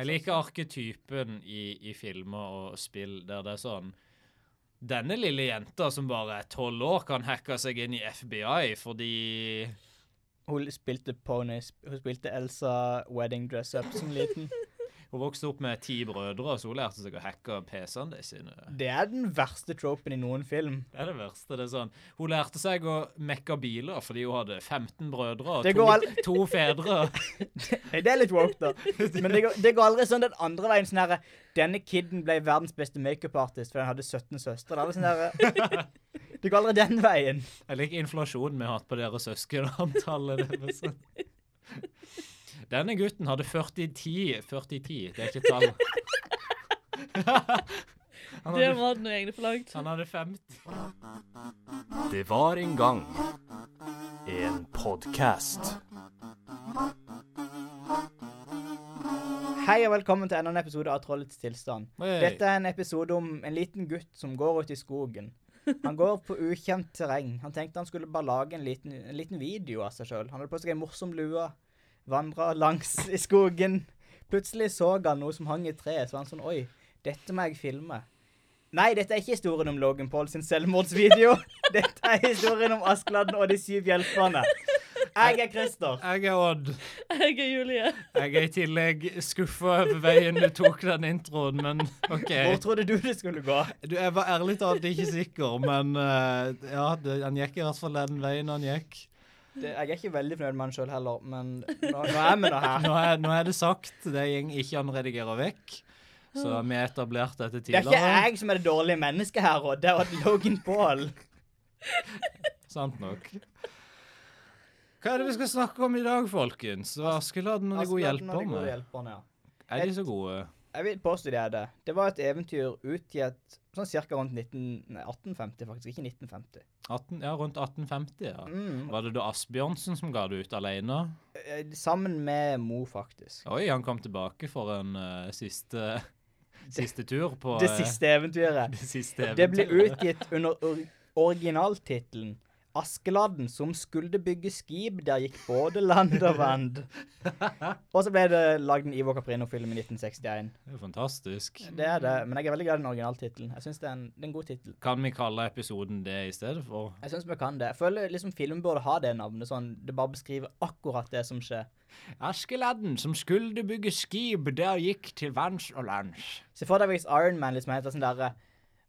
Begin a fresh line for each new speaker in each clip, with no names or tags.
Jeg liker arketypen i, i filmer og spill der det er sånn Denne lille jenta som bare er tolv år, kan hacke seg inn i FBI fordi
Hun spilte ponies. Hun spilte Elsa Wedding Dress Up som liten.
hun vokste opp med ti brødre, så hun lærte seg å hacke PC-ene sine.
Det er den verste tropen i noen film.
Det er det verste. det er sånn. Hun lærte seg å mekke biler fordi hun hadde 15 brødre og
Det
to,
går all-
to fedre.
Nei, det er litt woke, da. Men det går, det går aldri sånn den andre veien. sånn herre Denne kiden ble verdens beste makeup-artist fordi han hadde 17 søstre. Det er aldri sånn herre Det går aldri den veien.
Jeg liker inflasjonen vi har hatt på deres søskenantallet. det er sånn. Denne gutten hadde 40-10. 40-10, det er ikke tall. Han
Det
hadde,
var noe egentlig for langt.
han hadde 50.
Det var en gang en podkast.
Hei og velkommen til enda en episode av Trollets tilstand.
Hey.
Dette er en episode om en liten gutt som går ut i skogen. Han går på ukjent terreng. Han tenkte han skulle bare lage en liten, en liten video av seg sjøl. Han hadde på seg en morsom lue, vandra langs i skogen. Plutselig så han noe som hang i treet, så var han sånn Oi, dette må jeg filme. Nei, dette er ikke historien om Logan Paul sin selvmordsvideo. Dette er historien om Askeladden og de syv hjelperne. Jeg er Christer.
Jeg er Odd.
Jeg er Julie.
Jeg er i tillegg skuffa over veien du tok den introen, men OK.
Hvor trodde du det skulle gå?
Du, jeg var ærlig talt ikke sikker, men eh, ja, det, han gikk i hvert fall den veien han gikk.
Det, jeg er ikke veldig fornøyd med han sjøl heller, men nå, nå er vi nå her.
Nå er, nå er det sagt. Det gjeng ikke han redigerer vekk. Så vi etablerte dette
Det er ikke
tidligere.
jeg som er det dårlige mennesket her, og det var Logan Paul.
Sant nok. Hva er det vi skal snakke om i dag, folkens? Det var Askeladden og de gode
Askeladden og de gode
hjelperne.
hjelperne, ja.
Er de så gode?
Jeg vil påstå det er det. Det var et eventyr utgitt sånn cirka rundt 19, nei, 1850, faktisk. Ikke 1950.
18, ja, rundt 1850, ja.
Mm.
Var det da Asbjørnsen som ga det ut alene?
eh, Sammen med Mo, faktisk.
Oi, han kom tilbake for en eh, siste, siste tur på
Det
eh,
siste eventyret.
det siste
Det ble
eventyret.
utgitt under or originaltittelen Askeladden som skulle bygge skip, der gikk både land og vand. Og så ble det lagd en Ivo Caprino-film i 1961.
Det er jo fantastisk.
Det er det, men jeg er veldig glad i den originaltittelen. Jeg syns det, er en- det er en god tittel.
Kan vi kalle episoden det i stedet for?
Jeg syns vi kan det. Jeg føler liksom filmen burde ha det navnet, sånn det bare beskriver akkurat det som skjer.
Askeladden som skulle bygge skip, der gikk til vanns og lands.
Se for deg hvis Iron Man liksom heter sånn derre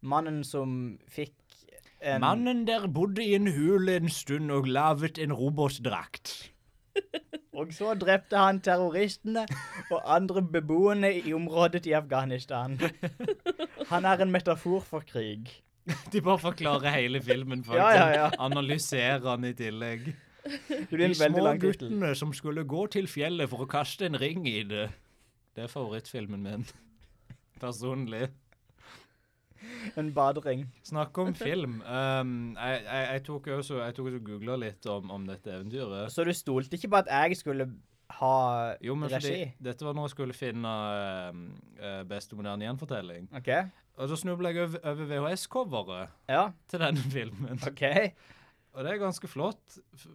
Mannen som fikk en
Mannen der bodde i en hule en stund og laget en robotdrakt.
Og så drepte han terroristene og andre beboerne i området i Afghanistan. Han er en metafor for krig.
De bare forklarer hele filmen, faktisk.
Ja, ja, ja.
Analyserer han i tillegg.
Det
De
blir en veldig
små
lang tittel.
guttene som skulle gå til fjellet for å kaste en ring i det. Det er favorittfilmen min. Personlig.
En badering.
Snakk om film. Um, jeg, jeg, jeg tok også, jeg tok også og googla litt om, om dette eventyret.
Så du stolte ikke på at jeg skulle ha
Jo, men fordi,
regi?
dette var når jeg skulle finne um, eh, beste moderne gjenfortelling.
OK?
Og så snubla jeg over, over VHS-coveret
Ja,
til denne filmen.
OK.
Og det er ganske flott. F-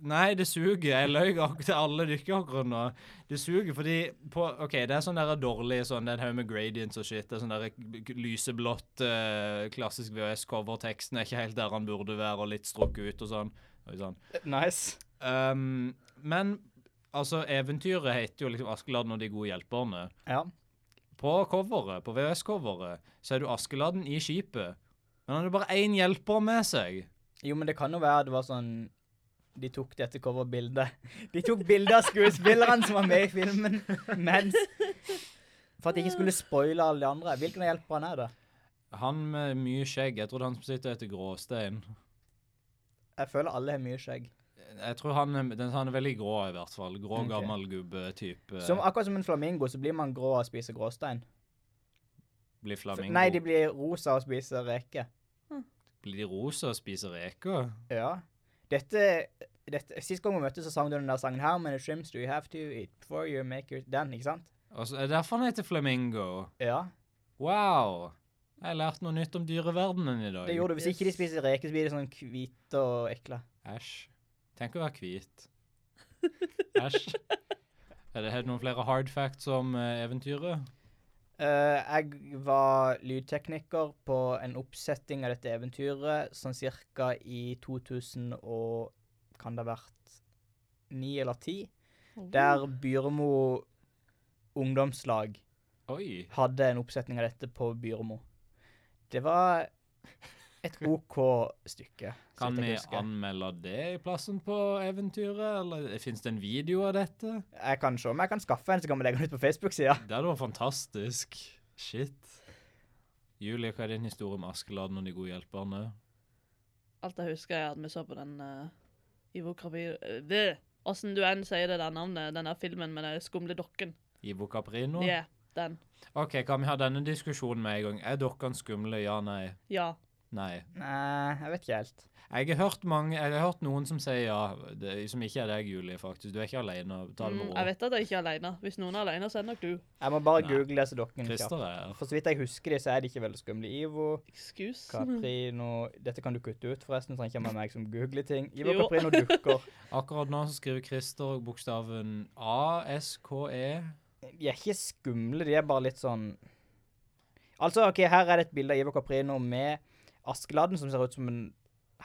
Nei, det suger. Jeg løy ak- til alle dere akkurat nå. Det suger fordi på, OK, det er sånn der dårlig sånn Det er en haug med gradients og shit. Det er sånn der k- lyseblått, eh, klassisk VHS-cover. Teksten er ikke helt der han burde være, og litt strukket ut og sånn. Oi, sånn.
Nice.
Um, men altså, eventyret heter jo liksom 'Askeladden og de gode hjelperne'.
Ja.
På coveret, på VHS-coveret, så er du Askeladden i skipet. Men han har jo bare én hjelper med seg.
Jo, men det kan jo være det var sånn De tok dette coverbildet. De tok bilde av skuespillerne som var med i filmen, mens For at de ikke skulle spoile alle de andre. Hvilken av hjelperne er det?
Han med mye skjegg. Jeg tror det er han som sitter etter gråstein.
Jeg føler alle har mye skjegg.
Jeg tror han, er- den, han er veldig grå, i hvert fall. Grå,
Ok.
gammel gubbe-type.
Som, akkurat som en flamingo, så blir man grå og spiser gråstein.
Blir
F-
flamingo.
Nei, de blir rosa og spiser reke.
Blir de rosa og spiser reker?
Ja. Dette, dette Sist gang vi møttes, så sang du den der sangen How many shrimps do you have to eat before you make your Den, ikke sant?
Altså, er det derfor han heter flamingo?
Ja.
Wow! Jeg har lært noe nytt om dyreverdenen i dag.
Det gjorde du. Hvis ikke de spiser reke, så blir de sånn hvite og ekle.
Æsj. Tenk å være hvit. Æsj. Er det, er det noen flere hard facts om eh, eventyret?
Eh, jeg var lydtekniker på en oppsetting av dette eventyret sånn cirka i 2000 og kan det ha vært 9 eller 10, der Byrmo ungdomslag
Oi.
hadde en oppsetning av dette på Byrmo. Det var et OK stykke. så
Kan
vidt
vi
jeg husker.
anmelde det i plassen på eventyret, eller fins det en video av dette?
Jeg kan se om jeg kan skaffe en, så kan vi legge den ut på Facebook-sida.
Det hadde vært fantastisk. Shit. Julie, hva er din historie med Askeladden og de gode hjelperne?
Alt jeg husker, er at vi så på den uh, Ivo Kravir... øh, det. Åssen du enn sier det der navnet, den der filmen med den skumle dokken.
Ivo Caprino?
Ja, den.
OK, kan vi ha denne diskusjonen med en gang? Er dokkene skumle? Ja, nei?
Ja.
Nei.
Nei, jeg vet ikke helt.
Jeg har hørt, mange, jeg har hørt noen som sier ja, det, som ikke er deg, Julie, faktisk. Du er ikke alene. Ta det
Mm,
med ro.
jeg vet at jeg ikke er aleine. Hvis noen er aleine, så er det nok du.
Jeg må bare
Nei.
google disse dokkene kjapt.
Christer er her.
For så vidt jeg husker de, så er de ikke veldig skumle. Ivo
Excuse.
Caprino Dette kan du kutte ut, forresten. Trenger ikke ha med meg som googler ting. Ivo
Jo.
Caprino dukker.
Akkurat nå så skriver Christer bokstaven A-S-K-E.
De er ikke skumle, de er bare litt sånn Altså, OK, her er det et bilde av Ivo Caprino med Askeladden, som ser ut som en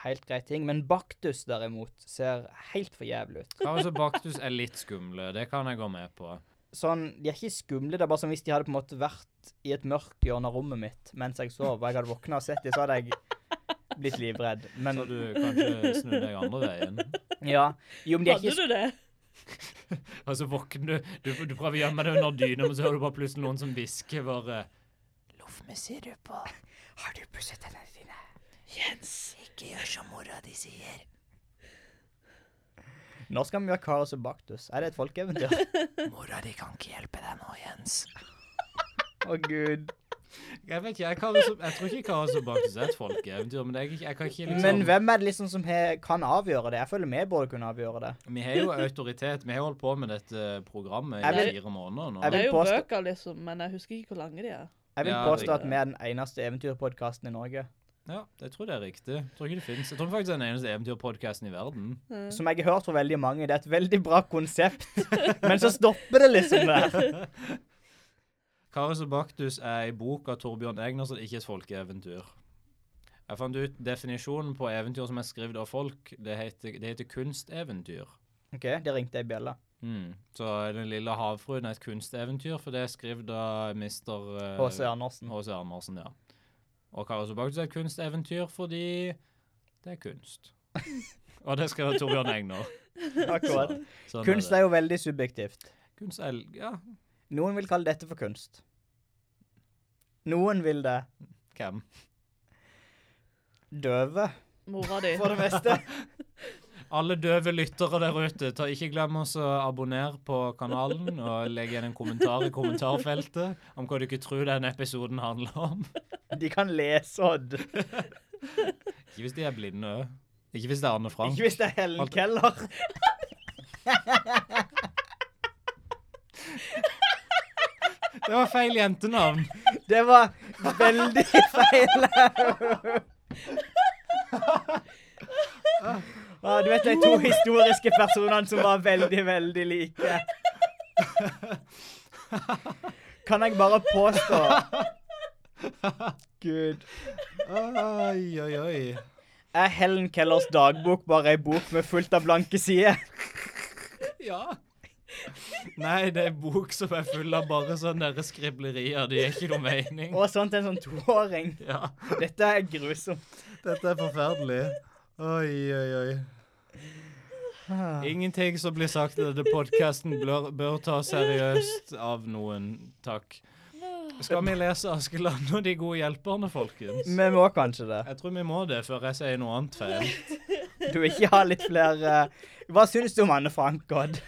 helt grei ting, men Baktus, derimot, ser helt for jævlig ut.
Altså, Baktus er litt skumle. Det kan jeg gå med på.
Sånn, De er ikke skumle, det er bare som hvis de hadde på en måte vært i et mørkt hjørne av rommet mitt mens jeg sov, og jeg hadde våkna og sett dem, så hadde jeg blitt livredd. Men
Så du kanskje snur deg andre veien.
ja. Jo, men de er ikke
Hadde du det?
Og så våkner du, du, du prøver å gjemme deg under dyna, men så hører du bare plutselig noen som hvisker bare
Loff med sirup og Har du pusset tennene dine?
Jens!
Ikke gjør som mora di sier. Når skal vi gjøre Karos og Baktus? Er det et folkeeventyr? mora di kan ikke hjelpe deg nå, Jens. Å, gud.
Jeg vet ikke, jeg, kan, liksom- jeg tror ikke Karas og Baktus er et folkeeventyr, men jeg, jeg kan ikke liksom
Men hvem er det liksom som he, kan avgjøre det? Jeg føler vi burde kunne avgjøre det.
Vi har jo autoritet. Vi har holdt på med dette programmet
Jeg
i
vil-
fire måneder nå.
jeg vil
Det er jo
påstå-
bøker, liksom, men jeg husker ikke hvor lange de er.
Jeg vil
Ja,
påstå
det-
at vi er den eneste eventyrpodkasten i Norge.
Ja, jeg tror det er riktig. Jeg tror ikke det finnes. Jeg tror faktisk det er den eneste eventyrpodkasten i verden.
Eh,
Som jeg har hørt fra veldig mange, det er et veldig bra konsept, men så stopper det liksom der.
Karis og Baktus er ei bok av Torbjørn Egner, så det er ikke et folkeeventyr. Jeg fant ut definisjonen på eventyr som er skrevet av folk. Det heter, det heter kunsteventyr.
OK, det ringte ei bjelle.
Mm. Så Den lille havfruen er et kunsteventyr, for det er skrevet av mister eh,
H.C. Andersen.
H.C. Andersen. ja. Og Karis og Baktus er et kunsteventyr fordi det er kunst. og det skrev Torbjørn Egner.
Akkurat.
Sånn
Kunst
er det.
er jo veldig subjektivt.
Kunst er Ja,
Noen vil kalle dette for kunst. Noen vil det
hvem?
døve,
Mora di.
for det meste.
Alle døve lyttere der ute, ta, ikke glem oss å abonnere på kanalen og legge igjen en kommentar i kommentarfeltet om hva du ikke tror den episoden handler om.
De kan lese Odd.
Ikke hvis de er blinde. Ikke hvis det er Anne Frank.
Ikke hvis det er Helen
Alt-
Keller.
Det var feil jentenavn.
Det var veldig feil. Ah, du vet de to historiske personene som var veldig, veldig like. Kan jeg bare påstå Gud.
Oi, oi, oi.
Er Helen Kellers dagbok bare ei bok med fullt av blanke sider?
Ja. Nei, det er en bok som er full av bare sånne der skriblerier. Det gir ikke noe mening.
Og sånn til en sånn toåring.
Ja.
Dette er grusomt.
Dette er forferdelig. Oi, oi, oi. Ingenting som blir sagt i denne podkasten bør, bør tas seriøst av noen. Takk. Skal vi lese 'Askeland og de gode hjelperne', folkens?
Vi må kanskje det.
Jeg tror vi må det før jeg sier noe annet feil.
Du vil ikke ha litt flere eh, Hva syns du om Anne Frank, Odd?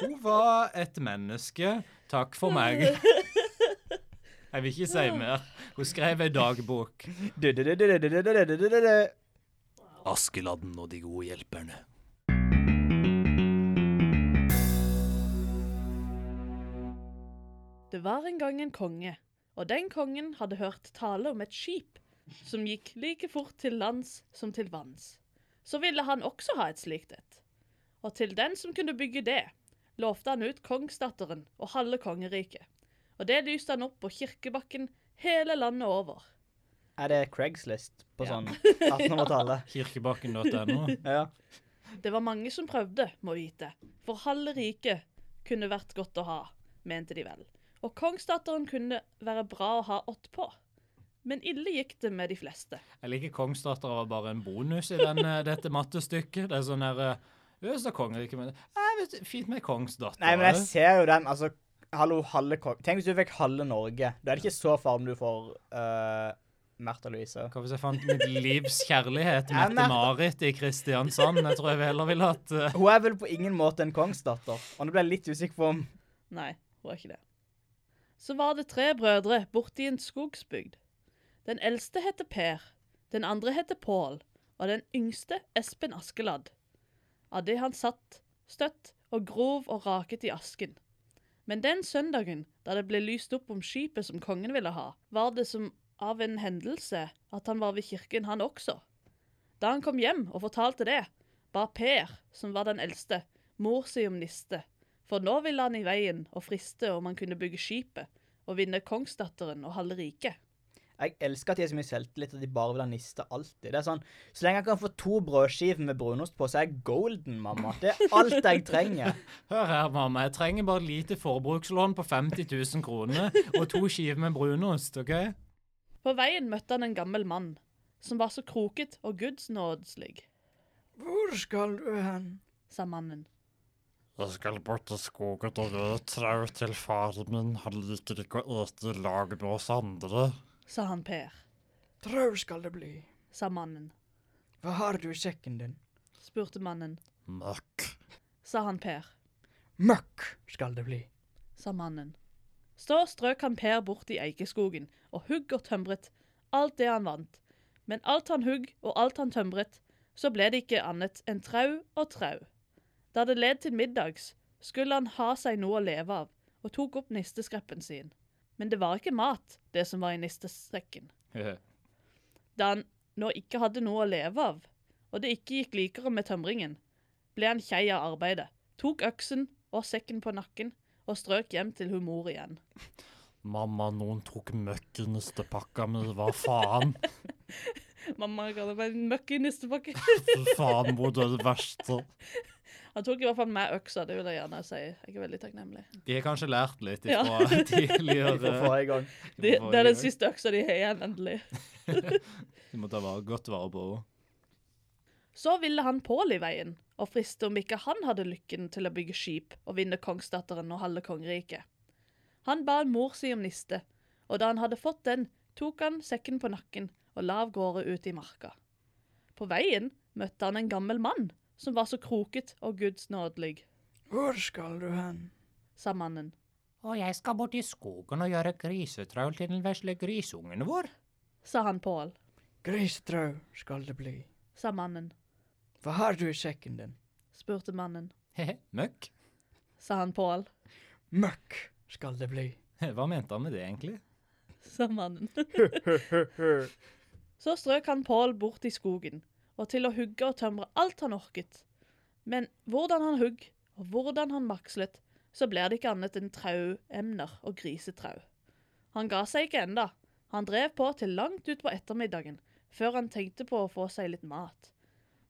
Hun var et menneske. Takk for meg. Jeg vil ikke si mer. Hun skrev ei dagbok.
Du, du, du, du, du, du, du, du, du, du.
Askeladden og de gode hjelperne.
Det var en gang en konge, og den kongen hadde hørt tale om et skip som gikk like fort til lands som til vanns. Så ville han også ha et slikt et. Og til den som kunne bygge det, lovte han ut kongsdatteren og halve kongeriket. Og det lyste han opp på kirkebakken hele landet over.
Er det Craigslist på
Ja.
sånn 1800-tallet?
Kirkebakken.no.
Ja.
Det var mange som prøvde, må vite, for halve riket kunne vært godt å ha, mente de vel. Og kongsdatteren kunne være bra å ha åttpå. Men ille gikk det med de fleste.
Jeg liker kongsdatter var bare en bonus i den, eh, dette mattestykket. Det er sånn her eh, «Ø, så kongeriket men Nei, vet du, Fint med kongsdatter.
Nei, men jeg
eh.
ser jo den, altså Hallo, halve kong... Tenk hvis du fikk halve Norge. Da er det ikke så far om du får uh, Märtha Louise.
Hva hvis jeg fant mitt livs kjærlighet,
Ja, men-
Mette-Marit i Kristiansand? Jeg tror jeg heller ville hatt eh,
Hun er vel på ingen måte en kongsdatter. Og nå ble jeg litt usikker på om
Nei, hun var ikke det. Så var det tre brødre borti en skogsbygd. Den eldste heter Per, den andre heter Pål, og den yngste Espen Askeladd. Av det han satt, støtt og grov og raket i asken. Men den søndagen, da det ble lyst opp om skipet som kongen ville ha, var det som av en hendelse at han var ved kirken, han også. Da han kom hjem og fortalte det, ba Per, som var den eldste, mor si om niste. For nå ville han i veien og friste om han kunne bygge skipet og vinne kongsdatteren og halve riket.
Jeg elsker at de har så mye selvtillit at de bare vil ha niste alltid. Det er sånn, Så lenge jeg kan få to brødskiver med brunost på, så er jeg golden, mamma. Det er alt jeg trenger.
Hør her, mamma. Jeg trenger bare et lite forbrukslån på 50 000 kroner og to skiver med brunost, OK?
På veien møtte han en gammel mann, som var så kroket og gudsnådslig,
Hvor skal du hen?
sa mannen.
Jeg skal bort i skogen og røde trau til faren min. Han liker ikke å ete i lag med oss andre.
Sa han Per,
Trau skal det bli.
sa mannen.
Hva har du i sekken din?
Spurte mannen,
Møkk.
sa han Per,
Møkk skal det bli.
sa mannen. Så strøk han Per bort i eikeskogen og hugg og tømret alt det han vant. Men alt han hugg og alt han tømret, så ble det ikke annet enn trau og trau. Da det led til middags, skulle han ha seg noe å leve av, og tok opp nisteskreppen sin. Men det var ikke mat, det som var i nistesekken. Da han nå ikke hadde noe å leve av, og det ikke gikk likere med tømringen, ble han kjei av arbeidet, tok øksen og sekken på nakken og strøk hjem til hun mor igjen.
Mamma, noen tok møkk i nistepakka mi. Hva faen?
Mamma kaller meg en møkk i nistepakke.
Fy faen, hvor det er det verste.
Han tok i hvert fall med øksa, det vil jeg gjerne si. Jeg er veldig takknemlig.
De har kanskje lært litt
Ja.
ifra tidligere.
For forrige gang.
Det, det er den siste øksa de har igjen, endelig.
De må ta vare, godt vare på henne.
Så ville han Pål i veien og friste om ikke han hadde lykken til å bygge skip og vinne kongsdatteren og halve kongeriket. Han ba mor si om niste, og da han hadde fått den, tok han sekken på nakken og la av gårde ut i marka. På veien møtte han en gammel mann som var så kroket og gudsnådelig,
Hvor skal du hen?
sa mannen.
Og jeg skal bort i skogen og gjøre grisetraul til den vesle grisungen vår.
Sa han Pål,
Gristrau skal det bli.
sa mannen,
Hva har du i sekken din?
spurte mannen,
Hehe, møkk.
sa han Pål,
Møkk skal det bli.
Hva mente han med det, egentlig?
sa mannen. Så strøk han Pål bort i skogen, og til å hugge og tømre alt han orket. Men hvordan han hugg, og hvordan han makslet, så ble det ikke annet enn trauemner og grisetrau. Han ga seg ikke enda. Han drev på til langt utpå ettermiddagen, før han tenkte på å få seg litt mat.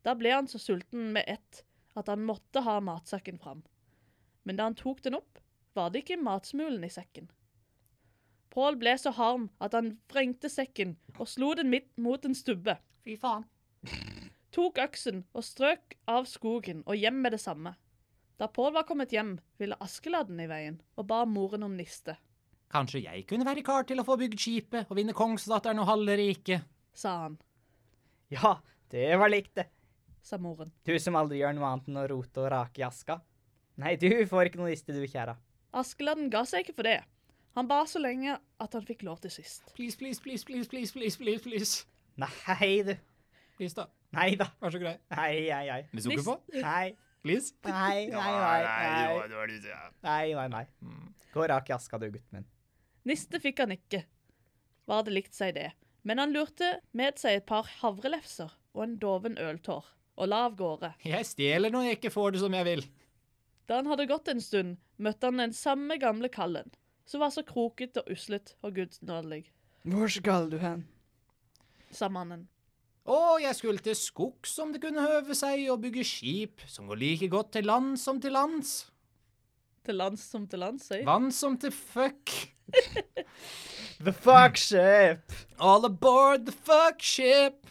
Da ble han så sulten med ett at han måtte ha matsekken fram. Men da han tok den opp, var det ikke matsmulen i sekken. Pål ble så harm at han vrengte sekken og slo den midt mot en stubbe.
Fy faen.
Tok øksen og strøk av skogen og hjem med det samme. Da Pål var kommet hjem, ville Askeladden i veien og ba moren om niste,
Kanskje jeg kunne være kar til å få bygd skipet og vinne kongsdatteren og halve riket.
sa han,
Ja, det var likt det.
sa moren.
Du som aldri gjør noe annet enn å rote og rake i aska. Nei, du får ikke noe liste, du, kjære.
Askeladden ga seg ikke for det. Han ba så lenge at han fikk lov til sist.
Please, please, please, please, please, please, please, please.
Nei, du.
Please, da.
Nei da.
Vær så grei.
Nei, nei, nei.
Med
sukker på?
Nei,
Please.
nei, nei, nei. Nei, nei, nei. nei. Gå og rak i aska, du, gutten min.
Niste fikk han ikke, var det likt seg det, men han lurte med seg et par havrelefser og en doven øltår, og la av gårde.
Jeg stjeler når jeg ikke får det som jeg vil.
Da han hadde gått en stund, møtte han den samme gamle kallen, som var så krokete og uslet og gudsnådelig.
Hvor skal du hen?
sa mannen.
Å, jeg skulle til skogs om det kunne høve seg, og bygge skip som går like godt til land som til lands.
Til lands som til lands, sier
Vann som til fuck.
The fuck ship!
All aboard the fuck ship.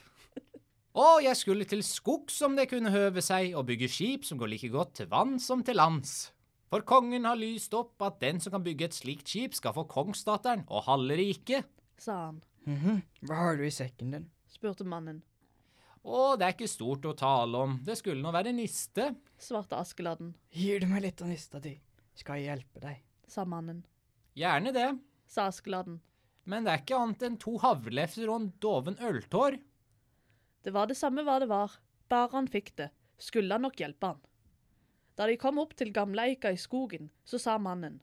Å, jeg skulle til skogs om det kunne høve seg, og bygge skip som går like godt til vann som til lands. For kongen har lyst opp at den som kan bygge et slikt skip, skal få kongsdatteren og halve riket.
sa han,
Hva har du i sekken din?
spurte mannen,
Å, det er ikke stort å tale om, det skulle nå være niste.
svarte Askeladden,
Gir du meg litt av nista di, skal jeg hjelpe deg.
sa mannen,
Gjerne det,
sa Askeladden.
men det er ikke annet enn to havlefser og en doven øltår.
Det var det samme hva det var, bare han fikk det, skulle han nok hjelpe han. Da de kom opp til gamleeika i skogen, så sa mannen,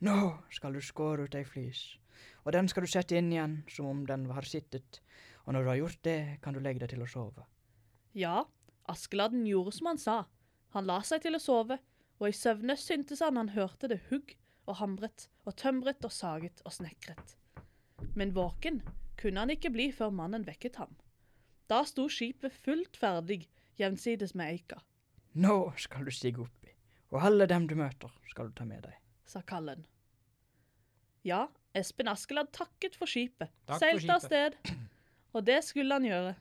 Nå skal du skåre ut ei flis, og den skal du sette inn igjen som om den har sittet, og når du har gjort det, kan du legge deg til å sove.
ja, Askeladden gjorde som han sa. Han la seg til å sove, og i søvne syntes han han hørte det hugg og hamret og tømret og saget og snekret. Men våken kunne han ikke bli før mannen vekket ham. Da sto skipet fullt ferdig jevnsides med eika.
Nå skal du stige oppi, og alle dem du møter, skal du ta med deg.
sa kallen. Ja, Espen Askeladd takket for skipet,
Takk for
seilte av
skipet.
sted. Og det skulle han gjøre.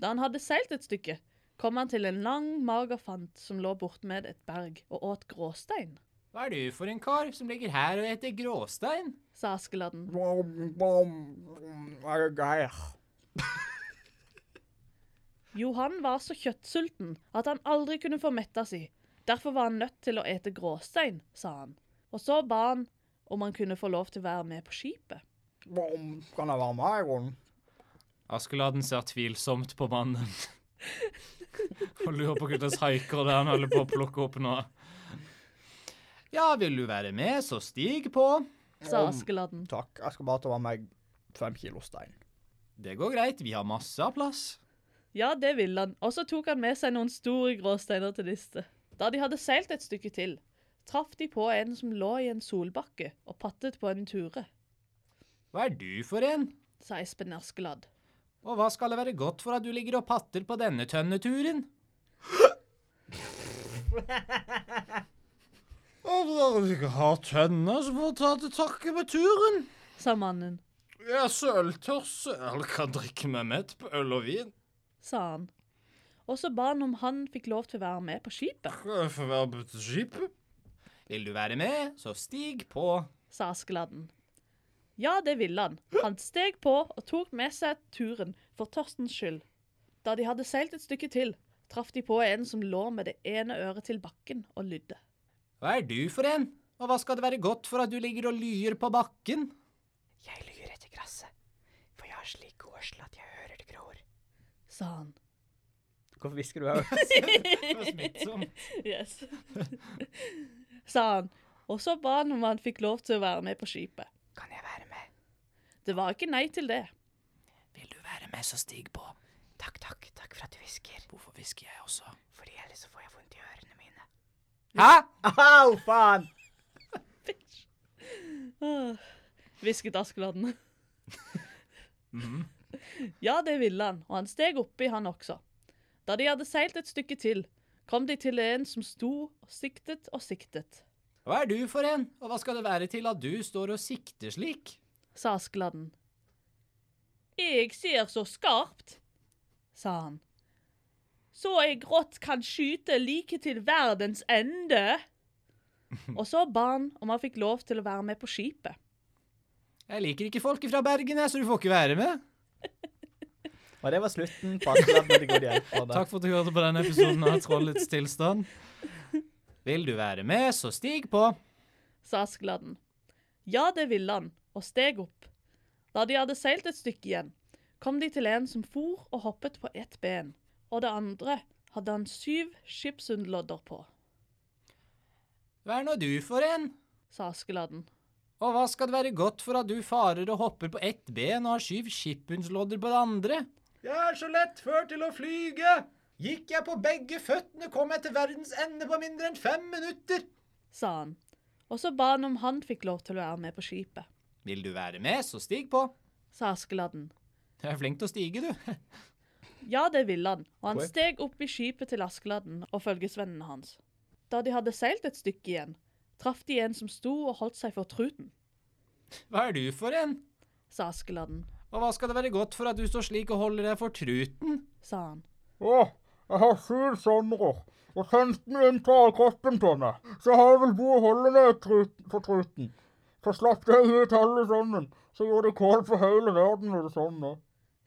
Da han hadde seilt et stykke, kom han til en lang, mager fant som lå bortmed et berg og åt gråstein,
Hva er du for en kar som ligger her og heter Gråstein?
sa Askeladden. Johan var så kjøttsulten at han aldri kunne få metta si. Derfor var han nødt til å ete gråstein, sa han. Og så ba han om han kunne få lov til å være med på skipet.
Kan jeg være med i grunnen?
Askeladden ser tvilsomt på mannen. Og lurer på hva slags haiker det er han holder på å plukke opp nå. Ja, vil du være med, så stig på.
Sa Askeladden.
Takk, jeg skal bare ta med meg fem kilo stein.
Det går greit, vi har masse av plass.
Ja, det ville han, og så tok han med seg noen store gråsteiner til disse. Da de hadde seilt et stykke til, traff de på en som lå i en solbakke og pattet på en ture,
Hva er du for en?
sa Espen Askeladd.
Og hva skal det være godt for at du ligger og patter på denne tønneturen?
Om dere ikke har tønne, så får dere ta til takke med turen.
Sa mannen,
Jeg er så øltørst, så jeg kan drikke meg mett på øl og vin.
sa han. Og så ba han om han fikk lov til å være med på skipet,
Kan jeg få være med til skipet?
Vil du være med, så stig på.
sa Askeladden. Ja, det ville han. Han steg på og tok med seg turen for tørstens skyld. Da de hadde seilt et stykke til, traff de på en som lå med det ene øret til bakken og lydde.
Hva er du for en? Og hva skal det være godt for at du ligger og lyer på bakken?
Jeg lyger etter gresset, for jeg har slik årsel at jeg hører det gror.
Sa han.
Hvorfor hvisker du òg?
Det var smittsomt.
Yes. sa han. Og så ba han om han fikk lov til å være med på skipet.
Kan jeg være med?
Det var ikke nei til det.
Vil du være med, så stig på.
Takk, takk, takk for at du hvisker,
Hvorfor hvisker jeg også?
Fordi ellers så får jeg vondt i ørene mine.
Hæ?
Au, faen!
Åh, Hvisket Askeladden. ja, det ville han, og han steg oppi, han også. Da de hadde seilt et stykke til, kom de til en som sto og siktet og siktet,
Hva er du for en, og hva skal det være til at du står og sikter slik?
sa Askeladden. Jeg ser så skarpt, sa han. Så jeg grått kan skyte like til verdens ende. Og så ba han om han fikk lov til å være med på skipet.
Jeg liker ikke folk fra Bergen, jeg, så du får ikke være med.
Og det var slutten på Askeladden og de gode hjelperne.
Takk for at du hørte på denne episoden av Trollets tilstand. Vil du være med, så stig på.
sa Askeladden. Ja, det ville han, og steg opp. Da de hadde seilt et stykke igjen, kom de til en som for og hoppet på ett ben, og det andre hadde han syv skipsundlodder på,
Hva er nå du for en?
sa Askeladden.
Og hva skal det være godt for at du farer og hopper på ett ben og har syv skippunslodder på det andre?
Jeg er så lett før til å flyge.
Gikk jeg på begge føttene, kom jeg til verdens ende på mindre enn fem minutter.
sa han, og så ba han om han fikk lov til å være med på skipet,
Vil du være med, så stig på.
sa Askeladden.
Du er flink til å stige, du.
Ja, det ville han, og han
Korrekt.
steg opp i skipet til Askeladden og følgesvennene hans. Da de hadde seilt et stykke igjen, traff de en som sto og holdt seg for truten,
Hva er du for en?
sa Askeladden,
Og hva skal det være godt for at du står slik og holder deg for truten?
sa han.
Å, jeg har syv somre og 15 vintre av kroppen på meg, så jeg har vel bo å holde ned trut, for truten. Så slapp jeg ut alle sammen, så gjorde det kål for hele verden og det sånn nå.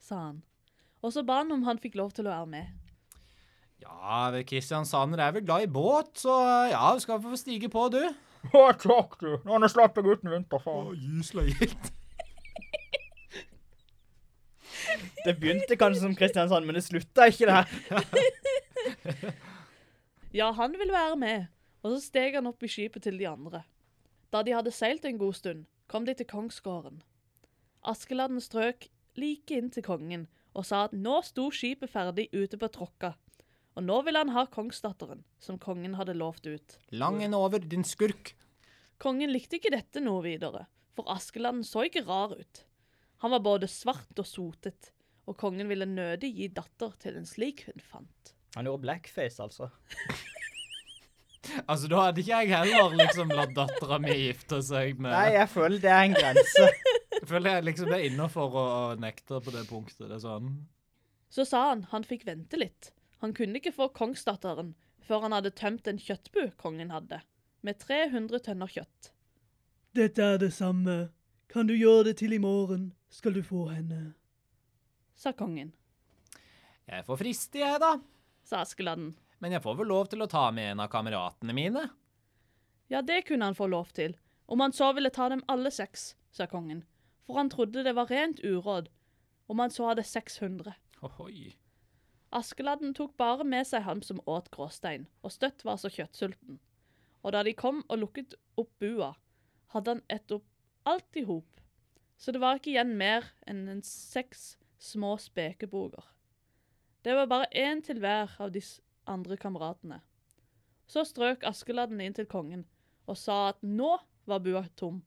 sa han. Og så ba han om han fikk lov til å være med.
Ja, vel, Kristiansand er vel glad i båt, så eh, ja, du skal få stige på, du.
Å, takk du, nå har jeg slapp jeg ut en vinter, faen.
Gysla gilt.
Det begynte kanskje som Kristiansand, men det slutta ikke der.
Ja, han ville være med, og så steg han opp i skipet til de andre. Da de hadde seilt en god stund, kom de til kongsgården. Askeladden strøk like inn til kongen og sa at nå sto skipet ferdig ute på Tråkka, og nå ville han ha kongsdatteren, som kongen hadde lovt ut.
Langen over, din skurk.
Kongen likte ikke dette noe videre, for Askeladden så ikke rar ut. Han var både svart og sotet, og kongen ville nødig gi datter til en slik hun fant.
Han gjorde blackface, altså.
Altså, da hadde ikke jeg heller liksom latt dattera mi gifte seg med
Nei, jeg føler det er en grense.
Jeg føler jeg liksom det er innafor å å nekte på det punktet. Det er sånn.
Så sa han han fikk vente litt. Han kunne ikke få kongsdatteren før han hadde tømt en kjøttbu kongen hadde, med 300 tønner kjøtt.
Dette er det samme. Kan du gjøre det til i morgen, skal du få henne.
Sa kongen,
Jeg er for fristig, jeg, da.
sa Askeladden.
Men jeg får vel lov til å ta med en av kameratene mine.
Ja, det kunne han få lov til, om han så ville ta dem alle seks, sa kongen, for han trodde det var rent uråd, om han så hadde 600.
Ohoi.
Askeladden tok bare med seg han som åt gråstein, og støtt var så kjøttsulten. Og da de kom og lukket opp bua, hadde han ett opp alt i hop, så det var ikke igjen mer enn en seks små spekeboger. Det var bare én til hver av de s- andre kameratene. Så strøk Askeladden inn til kongen og sa at nå var bua tom,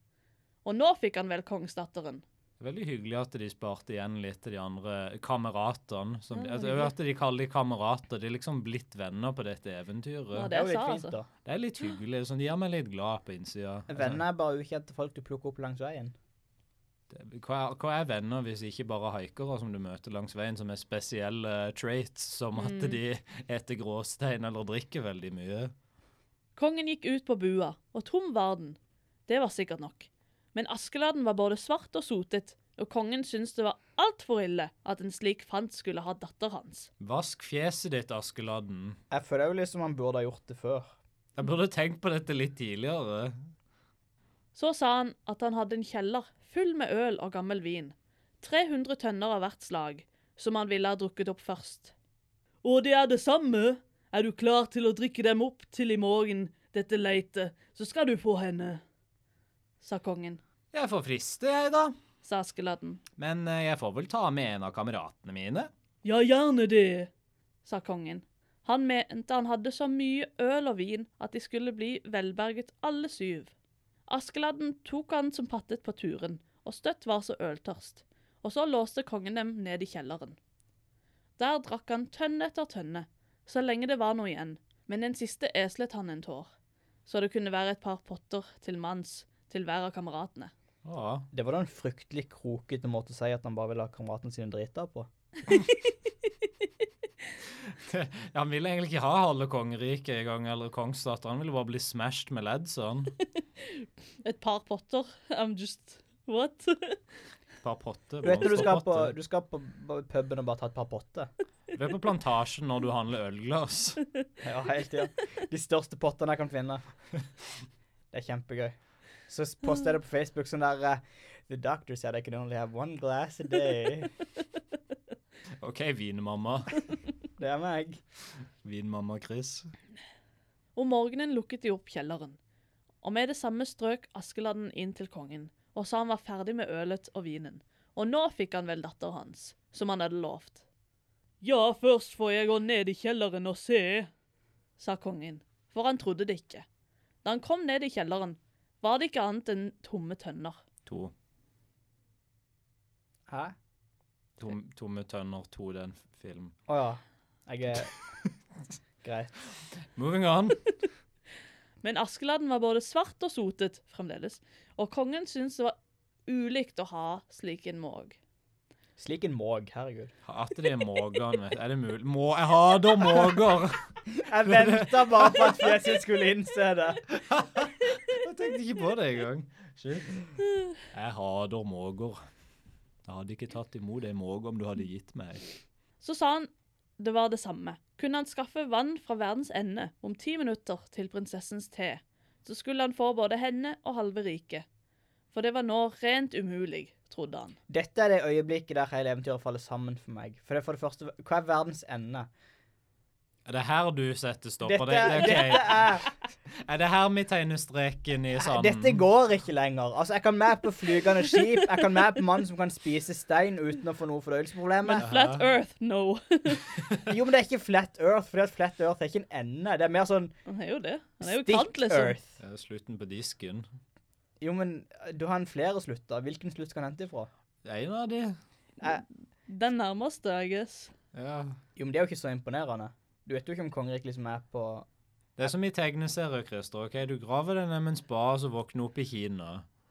og nå fikk han vel kongsdatteren.
Veldig hyggelig at de sparte igjen litt til de andre kameratene. Som,
Ja,
altså, jeg hørte de kaller de kamerater. De er liksom blitt venner på dette eventyret.
Ja,
det...
det
jo
jeg
litt
sa,
fint,
altså.
da.
er litt hyggelig. Sånn, de gjør meg litt glad på innsida. Altså,
Venner er bare ukjente folk du plukker opp langs veien.
det- hva, er- hva er venner hvis ikke bare haikere som du møter langs veien, som er spesielle traits, som at de eter gråstein eller drikker veldig mye?
Kongen gikk ut på bua, og tom var den. Det var sikkert nok. Men Askeladden var både svart og sotet, og kongen syntes det var altfor ille at en slik fant skulle ha datter hans.
Vask fjeset ditt, Askeladden.
Jeg føler jo liksom han burde ha gjort det før.
Jeg burde tenkt på dette litt tidligere.
Så sa han at han hadde en kjeller full med øl og gammel vin, 300 tønner av hvert slag, som han ville ha drukket opp først.
Og det er det samme. Er du klar til å drikke dem opp til i morgen, dette leitet, så skal du få henne.
Sa kongen,
Jeg får friste, jeg, da.
sa Askeladden,
Men eh, jeg får vel ta med en av kameratene mine.
Ja, gjerne det.
sa kongen. Han mente han hadde så mye øl og vin at de skulle bli velberget alle syv. Askeladden tok han som pattet på turen, og støtt var så øltørst, og så låste kongen dem ned i kjelleren. Der drakk han tønne etter tønne, så lenge det var noe igjen, men den siste eslet han en tår, så det kunne være et par potter til manns til hver av kameratene.
Å,
Det var da en fryktelig krokete måte å si at han bare ville ha kameratene sine drita på.
han ville egentlig ikke ha halve kongeriket i gang, eller kongsdatter. Han ville bare bli smashed med ledd, sånn.
Et par potter? I'm just What?
Et par potter.
Du vet når du skal på,
blomsterpotter.
du skal på b- puben og bare ta et par potter?
Du er på plantasjen når du handler ølglass.
Ja, helt tida. De største pottene jeg kan finne. Det er kjempegøy. Så s- poster jeg det på Facebook sånn der eh, The doctor said I can only have one glass a day.
OK, vinmamma.
Det er meg.
Vinmamma Chris.
Om morgenen lukket de opp kjelleren, og med det samme strøk Askeladden inn til kongen og sa han var ferdig med ølet og vinen, og nå fikk han vel datteren hans, som han hadde lovt. Ja, først får jeg gå ned i kjelleren og se, sa kongen, for han trodde det ikke. Da han kom ned i kjelleren, var det ikke annet enn tomme tønner.
To.
Hæ?
Tom, tomme tønner, to, den film.
Å ja. Jeg er Greit.
Moving on.
Men Askeladden var både svart og sotet fremdeles, og kongen syntes det var ulikt å ha slik en måg.
Slik en måg. Herregud.
At det er mågene, vet du. Er det mulig? Må, jeg hater måger!
Jeg venta bare på at fjeset skulle innse det.
Jeg tenkte ikke på det engang. Shit. Jeg hater måger. Jeg hadde ikke tatt imot en måge om du hadde gitt meg.
Så sa han det var det samme. Kunne han skaffe vann fra verdens ende om ti minutter til prinsessens te, så skulle han få både henne og halve riket. For det var nå rent umulig, trodde han.
Dette er det øyeblikket der hele eventyret faller sammen for meg. For det er for det første Hva er verdens ende?
Er det her du setter stopper?
Dette,
Det, det, ok.
dette er
Er det her vi tegner streken i sanden?
Dette
mm.
går ikke lenger. Altså, Jeg kan med på flygende skip, jeg kan med på mannen som kan spise stein uten å få noe
Men
fordøyelsesproblemer.
Flat Earth, no.
Jo, men det er ikke flat earth, fordi at flat earth er ikke en ende. Det er mer sånn
Han er jo det. Han er jo
stick
kant, liksom.
earth.
Det er Eh, Slutten på disken.
Jo, men eh, du har en flere slutter. Hvilken slutt skal han hente ifra?
En av de.
Den nærmeste, I guess.
Ja.
Jo, men det er jo ikke så imponerende. Du vet jo ikke om kongeriket liksom er på
Det er som i tegneserier, Christer. ok? Du graver deg ned med en spa, og så våkner du opp i Kina.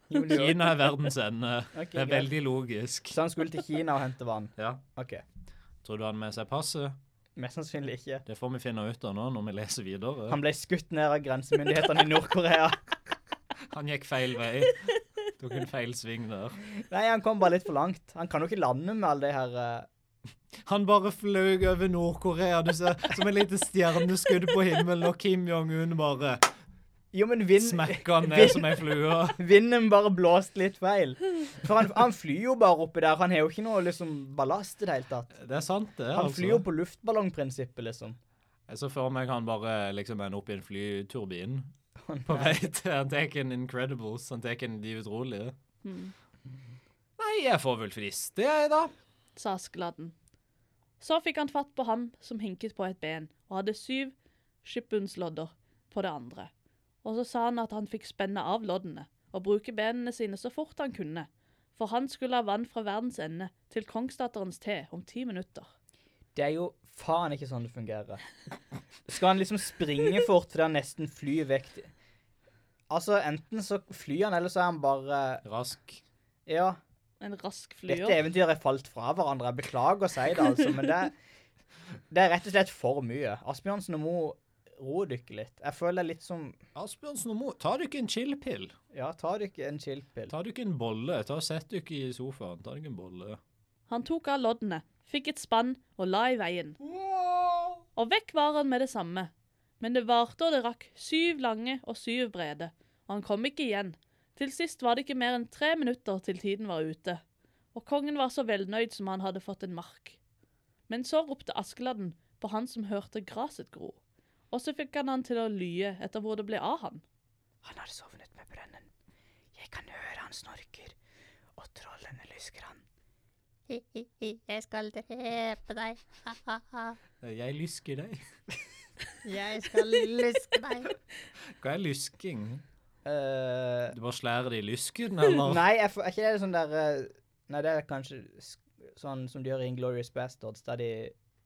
Jo, men det er jo-
Kina er verdens ende.
Ok,
eh, Det er
greit.
veldig logisk.
Så han skulle til Kina og hente vann?
Ja.
OK.
Tror du han har med seg passet?
Mest sannsynlig ikke.
Det får vi finne ut av nå når vi leser videre.
Han ble skutt ned av grensemyndighetene i Nord-Korea.
Han gikk feil vei. Tok en feil sving der.
Nei, han kom bare litt for langt. Han kan jo ikke lande med alle de her eh,
Han bare fløy over Nord-Korea, du ser, som et lite stjerneskudd på himmelen, og Kim Jong-un bare
Jo, men vind,
smekka han ned som ei flue.
vinden bare blåste litt feil. For han, han flyr jo bare oppi der. Han har jo ikke noe liksom ballast i det hele tatt.
Det er sant, det.
Han flyr jo
altså.
på luftballongprinsippet, liksom.
Jeg så for meg han bare liksom ender opp i en flyturbin. På vei til Han tar en Incredibles, han tar en De utrolige.
Hmm.
Nei, jeg får vel friste, jeg, da.
sa Askeladden. Så fikk han fatt på ham som hinket på et ben, og hadde syv skippunslodder på det andre. Og så sa han at han fikk spenne av loddene, og bruke benene sine så fort han kunne, for han skulle ha vann fra verdens ende til kongsdatterens te om ti minutter.
Det er jo faen ikke sånn det fungerer. Skal han liksom springe fort fordi han nesten flyr vekk? Altså, enten så flyr han, eller så er han bare
Rask.
Ja.
En rask
Dette
flyer.
eventyret er falt fra hverandre. Jeg beklager å si det, altså, men det, det er rett og slett for mye. Asbjørnsen og Moe, ro dere litt. Jeg føler det er litt som
Asbjørnsen og Mo, tar du ikke en chill-pill?
Ja, ta dere en chill-pill.
Tar du ikke en bolle? Ta og Sett du ikke i sofaen, ta deg en bolle.
Han tok av loddene, fikk et spann og la i veien. Og vekk var han med det samme. Men det varte og det rakk, syv lange og syv brede, og han kom ikke igjen. Til sist var det ikke mer enn tre minutter til tiden var ute, og kongen var så velnøyd som han hadde fått en mark. Men så ropte Askeladden på han som hørte graset gro, og så fikk han han til å lye etter hvor det ble av han.
Han hadde sovnet med brønnen. Jeg kan høre han snorker, og trollene lysker han.
Hi-hi-hi, jeg skal drepe deg. Ha-ha-ha.
Eh, Jeg lysker deg.
Jeg skal luske deg.
Hva er lysking?
Eh,
Du bare slærer det i lysken, eller?
nei, jeg, får- er ikke det sånn der eh, Nei, det er kanskje sk- sånn som de gjør i Inglorious Bastards, der de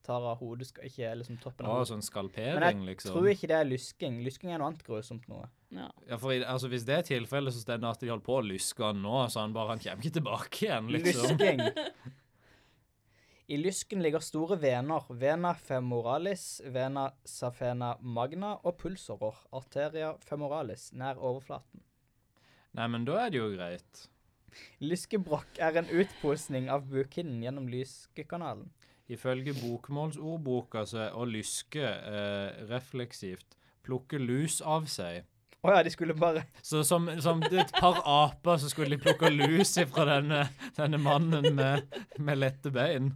tar av hodet, skal ikke liksom toppen
Å,
av hodet.
sånn
Men
skalpering,
jeg
liksom?
tror ikke det er lysking. Lysking er noe annet grusomt noe.
Ja, for i, altså, Hvis det er tilfellet, så står det at de holder på å lyske han nå, så han bare han kommer ikke tilbake igjen, liksom.
Lysking. I lysken ligger store vener. Vena femoralis, vena safena magna og pulsårer. Arteria femoralis, nær overflaten.
Nei, men da er det jo greit.
Lyskebrokk er en utposning av bukhinnen gjennom lyskekanalen.
Ifølge bokmålsordboka så er å lyske eh, refleksivt plukke lus av seg.
Å ja, de skulle bare
Så som, som et par aper så skulle de plukke lus ifra denne, denne mannen med, med lette bein.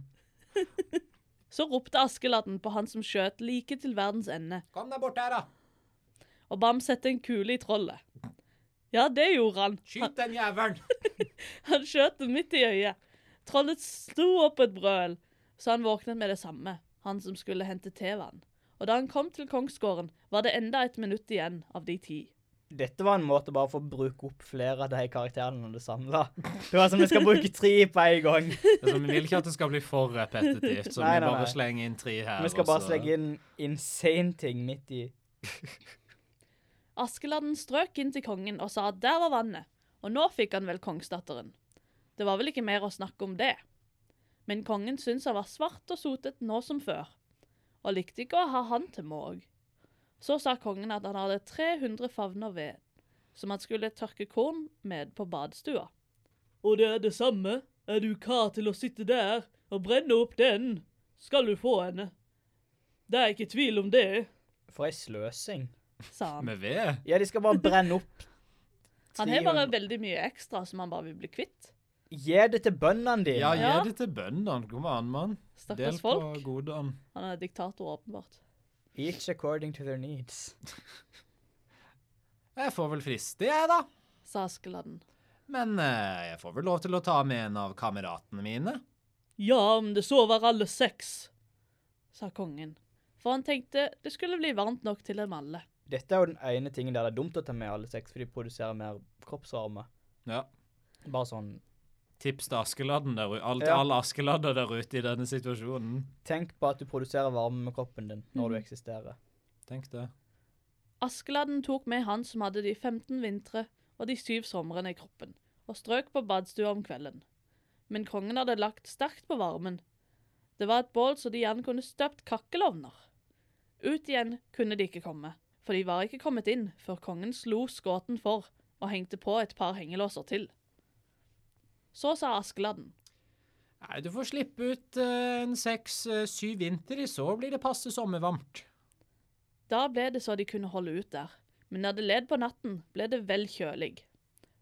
Så ropte Askeladden på han som skjøt like til verdens ende,
Kom deg bort her, da!
og ba ham sette en kule i trollet. Ja, det gjorde han. Han-
den jævelen!
Han skjøt den midt i øyet. Trollet sto opp et brøl, så han våknet med det samme, han som skulle hente tevann. Og da han kom til kongsgården, var det enda et minutt igjen av de ti.
Dette var en måte bare for å bruke opp flere av de karakterene når det samla. Det var som vi skal bruke tre på en gang.
Altså, vi vil ikke at det skal bli for repetitivt, så
Nei,
vi
nei, nei.
bare slenger inn tre her.
Vi skal bare slenge inn insane ting midt i.
Askeladden strøk inn til kongen og sa at der var vannet, og nå fikk han vel kongsdatteren. Det var vel ikke mer å snakke om det. Men kongen syntes han var svart og sotet nå som før, og likte ikke å ha han til måg. Så sa kongen at han hadde 300 favner ved, som han skulle tørke korn med på badestua. Og det er det samme, er du kar til å sitte der og brenne opp den, skal du få henne. Det er ikke tvil om det,
For ei sløsing.
sa han.
Med ved?
Ja, de skal bare brenne opp.
Han har bare
300.
veldig mye ekstra som han bare vil bli kvitt.
Gi det til bøndene dine.
Ja,
Ja.
gi det til bøndene. Kom an, mann. Del
Stakkars
på
folk.
godene.
Han er diktator, åpenbart.
Each according to their needs.
Jeg får vel friste, jeg, da.
Sa Askeladden.
Men eh, jeg får vel lov til å ta med en av kameratene mine.
Ja, om det så var alle seks, sa kongen. For han tenkte det skulle bli varmt nok til dem alle.
Dette er jo den ene tingen der det er dumt å ta med alle seks, for de produserer mer kroppsvarme.
Ja.
Bare sånn
Tips til Askeladden der ute. All, til
Ja.
alle Askeladder der ute i denne situasjonen.
Tenk på at du produserer varme med kroppen din når du eksisterer.
Tenk det.
Askeladden tok med han som hadde de 15 vintre og de syv somrene i kroppen, og strøk på badstua om kvelden. Men kongen hadde lagt sterkt på varmen. Det var et bål så de gjerne kunne støpt kakkelovner. Ut igjen kunne de ikke komme, for de var ikke kommet inn før kongen slo skåten for og hengte på et par hengelåser til. Så sa Askeladden.
Nei, du får slippe ut eh, en seks-syv vinter i, så blir det passe sommervarmt.
Da ble det så de kunne holde ut der, men når det led på natten, ble det vel kjølig.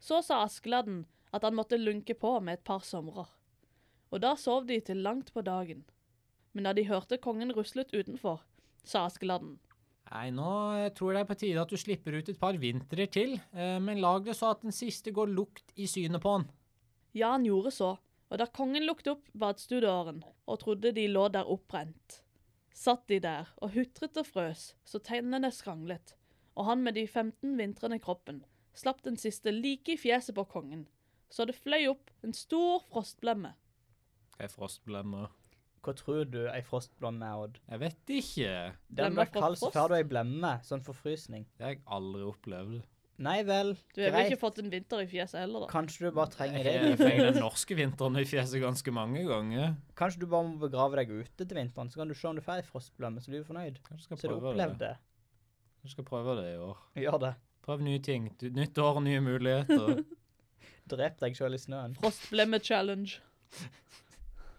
Så sa Askeladden at han måtte lunke på med et par somrer. Og da sov de til langt på dagen. Men da de hørte kongen ruslet utenfor, sa Askeladden.
Nei, nå eh, tror jeg det er på tide at du slipper ut et par vintre til, eh, men lag det så at den siste går lukt i synet på den.
Ja, han gjorde så, og da kongen lukte opp badstuedøren og trodde de lå der oppbrent, satt de der og hutret og frøs så tennene skranglet, og han med de 15 vintrene i kroppen slapp den siste like i fjeset på kongen, så det fløy opp en stor frostblemme.
Jeg frostblemmer.
Hva tror du ei frostblemme er, Odd?
Jeg vet ikke.
Den
Blemme
blir
fra
kald, så
frost?
får du ei blemme. Sånn forfrysning.
Det har jeg aldri opplevd.
Nei vel,
Du har vel
greit.
ikke fått en vinter i fjeset heller, da?
Kanskje du bare trenger det.
Jeg altså. trenger den norske vinteren i fjeset ganske mange ganger.
Kanskje du bare må begrave deg ute til vinteren, så kan du se om du får ei frostblemme, så blir du fornøyd.
Kanskje jeg
Så du
skal prøve
opplevde
det.
det.
Kanskje jeg skal prøve det i år.
Gjør det.
Prøv nye ting. Du- Nytt år, nye muligheter.
Drep deg sjøl i snøen.
Frostblemme-challenge.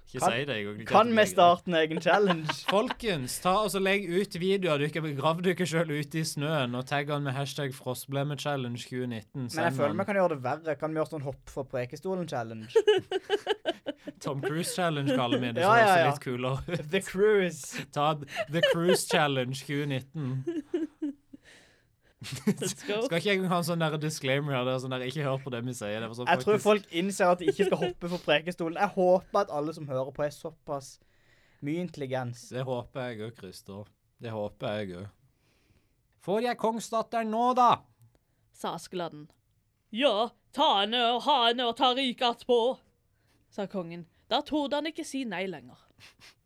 Ikke
Kan-
si det. Jeg, jeg
Kan vi starte en egen challenge?
Folkens, ta og så legg ut videoer du ikke begrav dere sjøl ute i snøen, og tagg han med hashtag frostblemmechallenge2019.
Men jeg
Send
føler vi
han
kan gjøre det verre. Kan vi gjøre sånn hopp fra Prekestolen-challenge?
Tom Cruise Challenge, kaller vi det.
Ja,
så det
ja,
ser
ja.
litt kulere ut.
The Cruise.
Ta The Cruise Challenge 2019.
Let's go.
Skal ikke jeg ha en sånn der disclaimer her? der, Sånn der, ikke hør på det vi sier. Det var sånn
Jeg tror
faktisk-
folk innser at de ikke skal hoppe fra Prekestolen. Jeg håper at alle som hører på, er såpass mye intelligens.
Det håper jeg òg, Christer. Det håper jeg òg. Får jeg kongsdatteren nå, da?
Sa Askeladden. Ja, ta henne og ha henne og ta riket attpå, sa kongen. Da torde han ikke si nei lenger.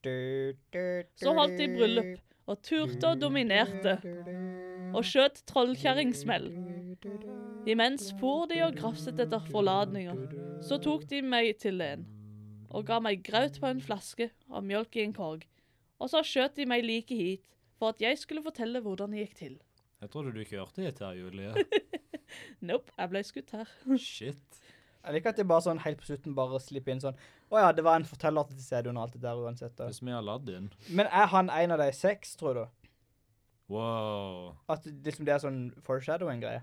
Du, du, du,
Så holdt de bryllup og turte og dominerte. Og skjøt trollkjerringsmell. Imens for de og grafset etter forladninger. Så tok de meg til en og ga meg graut på en flaske og mjølk i en korg. Og så skjøt de meg like hit for at jeg skulle fortelle hvordan det gikk til.
Jeg trodde du kjørte hit her, Julie.
Nope, jeg ble skutt her.
Shit.
Jeg liker at de bare sånn helt på slutten bare slipper inn sånn Å ja, det var en forteller til stede under alt det der uansett. Da.
Hvis vi har ladd inn.
Men er han en av de seks, tror du?
Wow.
At det- liksom det er sånn foreshadowing-greie?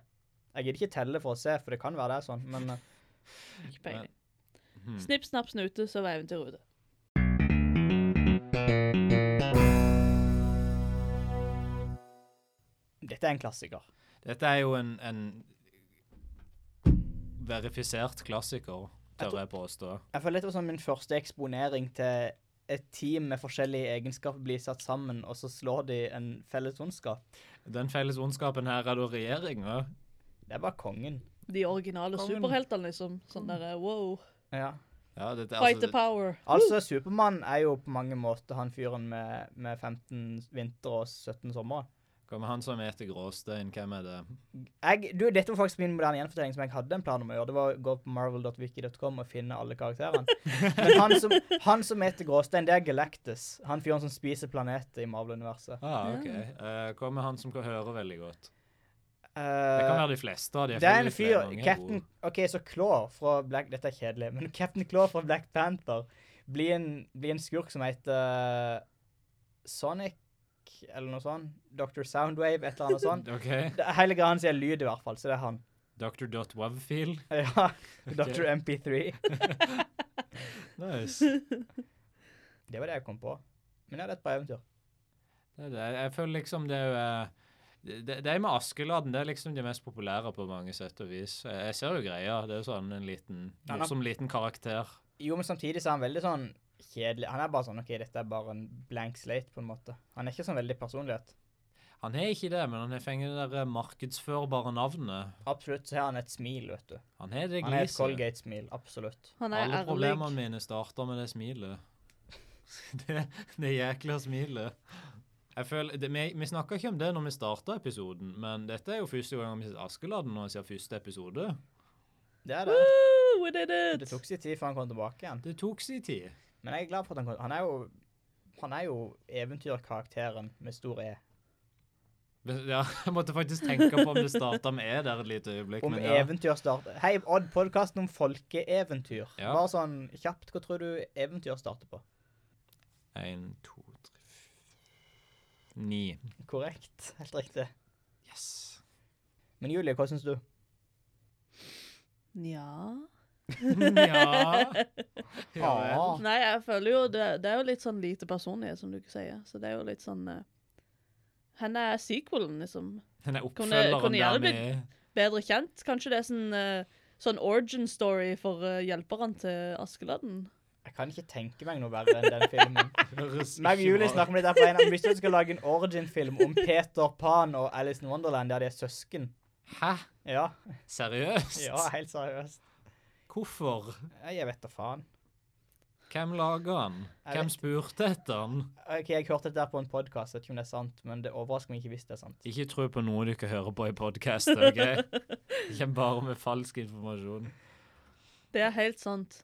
Jeg gidder ikke telle for å se, for det kan være det er sånn, men eh,
Ikke peiling.
hmm.
Snipp, snapp, snute, så var eventyret ute.
dette er en klassiker.
Dette er jo en, en verifisert klassiker, tør jeg påstå.
Jeg føler dette var sånn min første eksponering til et team med forskjellige egenskaper blir satt sammen, og så slår de en felles ondskap.
Den felles ondskapen her er da regjeringa.
Det er bare kongen.
De originale
Kongen.
superheltene, liksom. Sånn derre wow.
Ja.
Ja, dette er
Fight the
altså,
power.
Altså, Supermann er jo på mange måter han fyren med, med 15 vinter og 17 sommer.
kommer han som eter gråstein, hvem er det?
Jeg, du, dette var faktisk min moderne gjenfortelling som jeg hadde en plan om å gjøre. Det var å gå på marvel.wiki.com og finne alle karakterene. Men han som, han som heter Gråstein, det er Galactus. Han fyren som spiser planeter i Marvel-universet.
Ah, ok. Eh, hva med han som kan høre veldig godt? Det kan
Eh,
være de fleste av de.
det er en
jeg føler
fyr
flere mange er
Captain
gode.
OK, så Claw fra Black Dette er kjedelig, men Captain Claw fra Black Panther blir en, blir en skurk som heter Sonic, eller noe sånt. Dr. Soundwave, et eller annet sånt.
OK.
Det er Hele greia hans er lyd, i hvert fall, så det er han.
Dr. Dot Wavfield.
Ja. Dr. MP3.
Nice.
Det var det jeg kom på. Men jeg hadde et bra eventyr.
Det er det. Jeg føler liksom det er jo eh, det, det er med Askeladden det er liksom de mest populære på mange sett og vis. Jeg jeg ser jo greia. Det er jo sånn en liten,
Ja, da-
morsom liten karakter.
Jo, men samtidig så er han veldig sånn kjedelig. Han er bare sånn OK, dette er bare en blank slate, på en måte. Han er ikke sånn veldig personlighet.
Han har ikke det, men han har fengt det der eh, markedsførbare navnet.
Absolutt så har han et smil, vet du.
Han har det
Han er et
gliset.
Colgate-smil. Absolutt.
Han er
Alle
ærlig.
problemene mine starter med det smilet. Det, det jækla smilet. Jeg føler, det, vi, vi snakka ikke om det når vi starta episoden, men dette er jo første gang vi sitter Askeladden når vi sier første episode.
Det er det.
Woo, we did
Det
it!
tok sin tid før han kom tilbake igjen.
Det tok sin tid.
Men jeg er glad for at han kom. Han er jo han er jo eventyrkarakteren med stor E.
Men, Ja, jeg måtte faktisk tenke på om det starta med E der et lite øyeblikk.
Om
men ja.
eventyr starter Hei, Odd, podkasten om folkeeventyr.
Ja.
Bare sånn kjapt, hva tror du eventyr starter på?
En, to, tre f- Ni.
Korrekt. Helt riktig.
Yes.
Men Julie, hva syns du?
Nja
Ja. ja vel.
Ah.
Nei, jeg føler jo det, det er jo litt sånn lite personlighet, som du ikke sier. Så det er jo litt sånn uh, Henne er sequelen, liksom.
Den er
Kunne- kunne
oppfølgeren der
gjerne
vi
blitt- Bedre kjent. Kanskje det er sånn, eh, sånn origin story for eh, hjelperen til Askeladden.
Jeg kan ikke tenke meg noe verre enn den filmen.
høres
Meg og
ikke
Julie
bra ut.
snakker om det der på en Hvis du skal lage en origin-film om Peter Pan og Alice in Wonderland der de er søsken
Hæ?
Ja,
Seriøst?
ja helt seriøst.
Hvorfor?
Jeg vet da faen.
Hvem laga han?
Jeg
Hvem
vet.
spurte etter han?
OK, jeg hørte dette der på en podkast, vet ikke om det er sant, men det overrasker meg ikke hvis det er sant.
Ikke tro på noe dere hører på i podkaster, OK? Ikke bare med falsk informasjon.
Det er helt sant.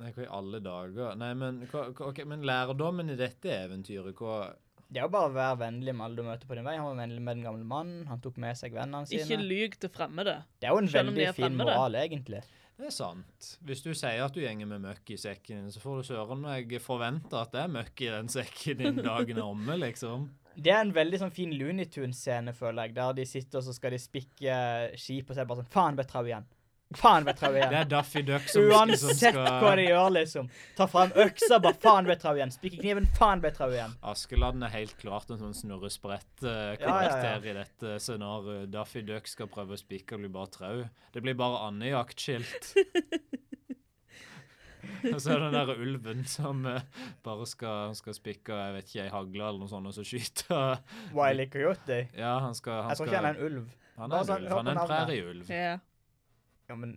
Nei, hva i alle dager? Nei, men, hva, hva- ok, men lærdommen i dette eventyret, hva
Det er jo bare å være vennlig med alle du møter på din vei. Han var vennlig med den gamle mannen, han tok med seg vennene
Ikke
sine.
lyg til fremmede.
Det er jo en
selv om de
veldig
er
fin
fremmede.
moral, egentlig.
Det er sant. Hvis du sier at du gjenger med møkk i sekken din, så får du søren meg forvente at det er møkk i den sekken din dagen er omme, liksom.
Det er en veldig sånn fin Looney Tunes-scene, føler jeg, der de sitter og så skal de spikke skip, og så er det bare sånn Faen, ble trau igjen. Faen, ble trau igjen.
Det er Daffy Duck som, som
Uansett hva
skal
de gjør, liksom. Ta fram øksa, bare faen vet trau igjen. Spikke kniven, faen vet trau igjen.
Askeladden er helt klart en sånn eh, snurresprett-karakter
Ja, ja, ja.
i dette eh, scenarioet. Daffy Duck skal prøve å spikke og blir bare trau. Det blir bare andejaktskilt. og så er det den der ulven som eh, bare skal, skal spikke jeg vet ikke, ei hagle eller noe sånt, og så skyte.
Wiley Coyote.
Ja, han skal, han
Jeg tror ikke han
skal
er en ulv.
Han
Bare
er
sånn,
en ulv.
hør
Han
på
er en
navnet.
prærieulv.
Ja.
Ja, men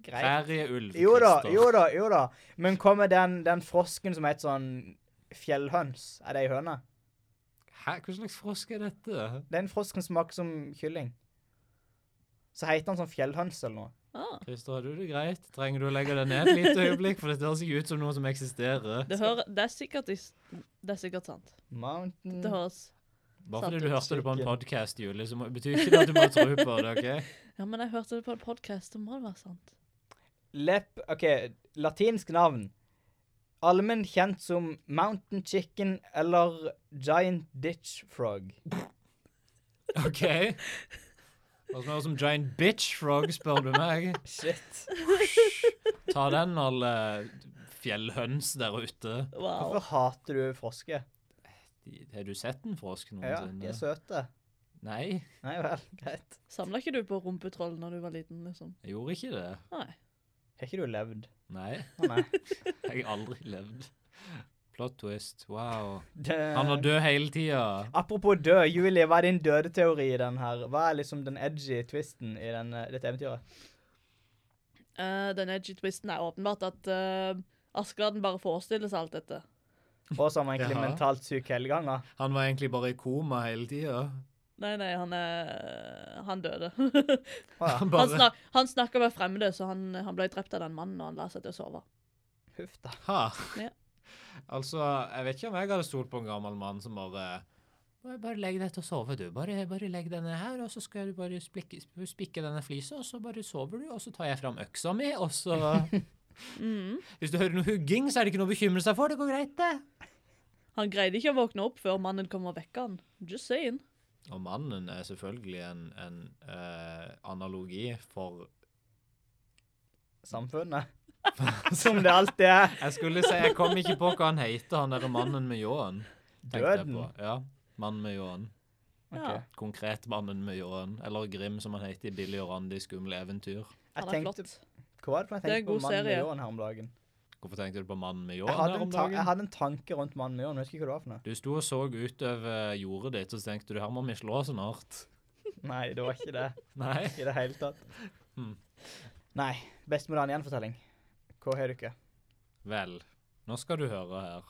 greit.
Prærieulv.
Jo da,
Christer.
jo da, jo da. Men kommer den, den frosken som heter sånn fjellhøns? Er det ei høne?
Hæ, hva slags frosk er dette?
Det er en frosk som smaker som kylling. Så heter han sånn fjellhøns eller noe.
Ah,
Christer, har du det greit? Trenger du å legge deg ned et lite øyeblikk, for dette høres ikke ut som noe som eksisterer.
det, hører, det, er sikkert, is- det er sikkert sant.
Mountain
Det høres
Bare
Satt
fordi du
ut
hørte det på en
stykken.
podkast, Julie, så må- betyr ikke det at du må tro på det. ok?
Ja, men jeg hørte det på en podkast, det må det være sant.
Lepp OK, latinsk navn. Allmenn kjent som mountain chicken eller giant ditch frog.
Ok? Hva som høres som Giant Bitch Frog, spør du meg.
Shit.
Ta den, alle fjellhøns der ute.
Wow.
Hvorfor hater du frosker?
De- Har du sett en frosk
Ja, de er
noensinne?
søte.
Nei,
Nei vel, greit.
Samla ikke du på rumpetroll når du var liten, liksom?
jeg gjorde ikke det.
Nei.
Har ikke du levd?
Nei,
Å nei.
jeg har aldri levd.
Plot twist. Wow.
Det,
Han var død hele tida.
Apropos død, Julie, hva er din dødeteori i den her? Hva er liksom den edgy twisten i den, eh, dette eventyret?
Eh, den edgy twisten er åpenbart at eh, Askeladden bare forestiller seg alt dette.
Og så har man egentlig
Jaha.
mentalt syk hele gangen. da.
Han var egentlig bare i koma hele tida.
Nei, nei, han er eh, Han døde.
Å,
Han
han,
bare
snak, han snakka med fremmede, så han, han ble drept av den mannen når han la seg til å sove.
ja. Huff da.
Ha.
Ja.
Altså, jeg vet ikke om jeg hadde stolt på en gammel mann som bare bare, bare legg deg til å sove, du. Bare, bare legg denne her, og så skal du bare spikke, spikke denne flisa, og så bare sover du, og så tar jeg fram øksa mi, og så
Mhm.
Hvis du hører noe hugging, så er det ikke noe å bekymre seg for. Det går greit, det.
Han greide ikke å våkne opp før mannen kom og vekka han. Just saying.
Og mannen er selvfølgelig en, en eh, analogi for
Samfunnet. Som det alltid er.
Jeg skulle si, jeg kom ikke på hva han heter, han derre mannen med ljåen. tenkte jeg
Døden?
på. Ja. Mannen med ljåen.
Ja.
Ok.
Konkret mannen med ljåen. Eller Grim, som han heter i Billy og Randi skumle eventyr.
Jeg
Han er
tenkte,
flott.
hva var det for jeg
Det er en
tenkte på
god
Mannen med
serie.
ljåen her om dagen?
Hvorfor tenkte du på mannen med
Jeg
ljåen
hadde,
her
en
om
ta jeg
dagen?
hadde en tanke rundt Mannen med ljåen, jeg husker ikke hva det var for noe.
Du sto og så utover jordet ditt, og så tenkte du her må vi slå snart.
Nei, det var ikke det.
Nei.
I det hele tatt.
Hmm.
Nei. Best moderne gjenfortelling. Hva har du ikke?
Vel, nå skal du høre her.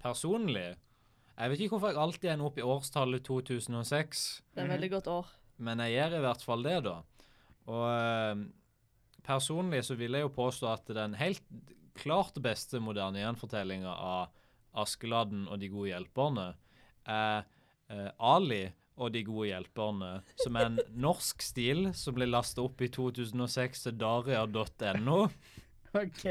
Personlig Jeg vet ikke hvorfor jeg alltid ender opp i årstallet 2006.
Det er et
Mhm.
veldig godt år.
Men jeg gjør i hvert fall det, da. Og eh, personlig så vil jeg jo påstå at den helt klart beste moderne gjenfortellinga av Askeladden og De gode hjelperne er eh, Ali og De gode hjelperne, som er en norsk stil som ble lasta opp i 2006 til daria.no.
OK.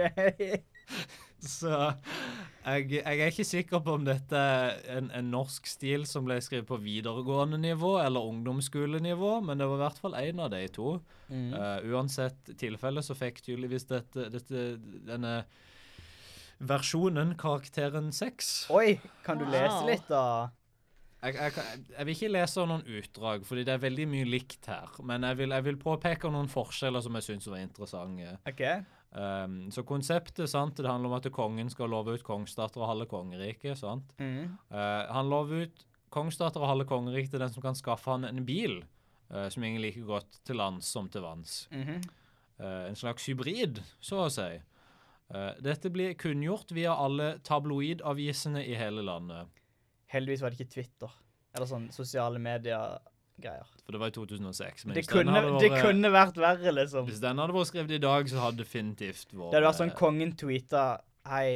Så jeg, jeg er ikke sikker på om dette er en, en norsk stil som ble skrevet på videregående nivå eller ungdomsskolenivå, men det var i hvert fall en av de to.
Mm.
Eh, uansett tilfelle så fikk tydeligvis dette, dette, denne versjonen karakteren 6.
Oi, kan du lese
Wow.
litt, da?
Jeg, jeg, kan- jeg vil ikke lese noen utdrag, fordi det er veldig mye likt her. Men jeg vil, jeg vil påpeke noen forskjeller som jeg syns var interessante.
OK.
Um, så konseptet sant, det handler om at kongen skal love ut kongsdatter og halve kongeriket. sant?
Mm.
Eh, han lover ut kongsdatter og halve kongeriket til den som kan skaffe han en bil eh, som gjenger like godt til lands som til vanns.
Mhm.
Eh, en slags hybrid, så å si. Eh, dette blir kunngjort via alle tabloidavisene i hele landet.
Heldigvis var det ikke Twitter. Eller sånn sosiale medier-greier.
For det var i 2006. Men
Det,
hvis den
kunne,
hadde
det
vært-
kunne vært verre, liksom.
Hvis den hadde vært skrevet i dag, så hadde definitivt vært
Det hadde vært sånn kongen tweeta Hei,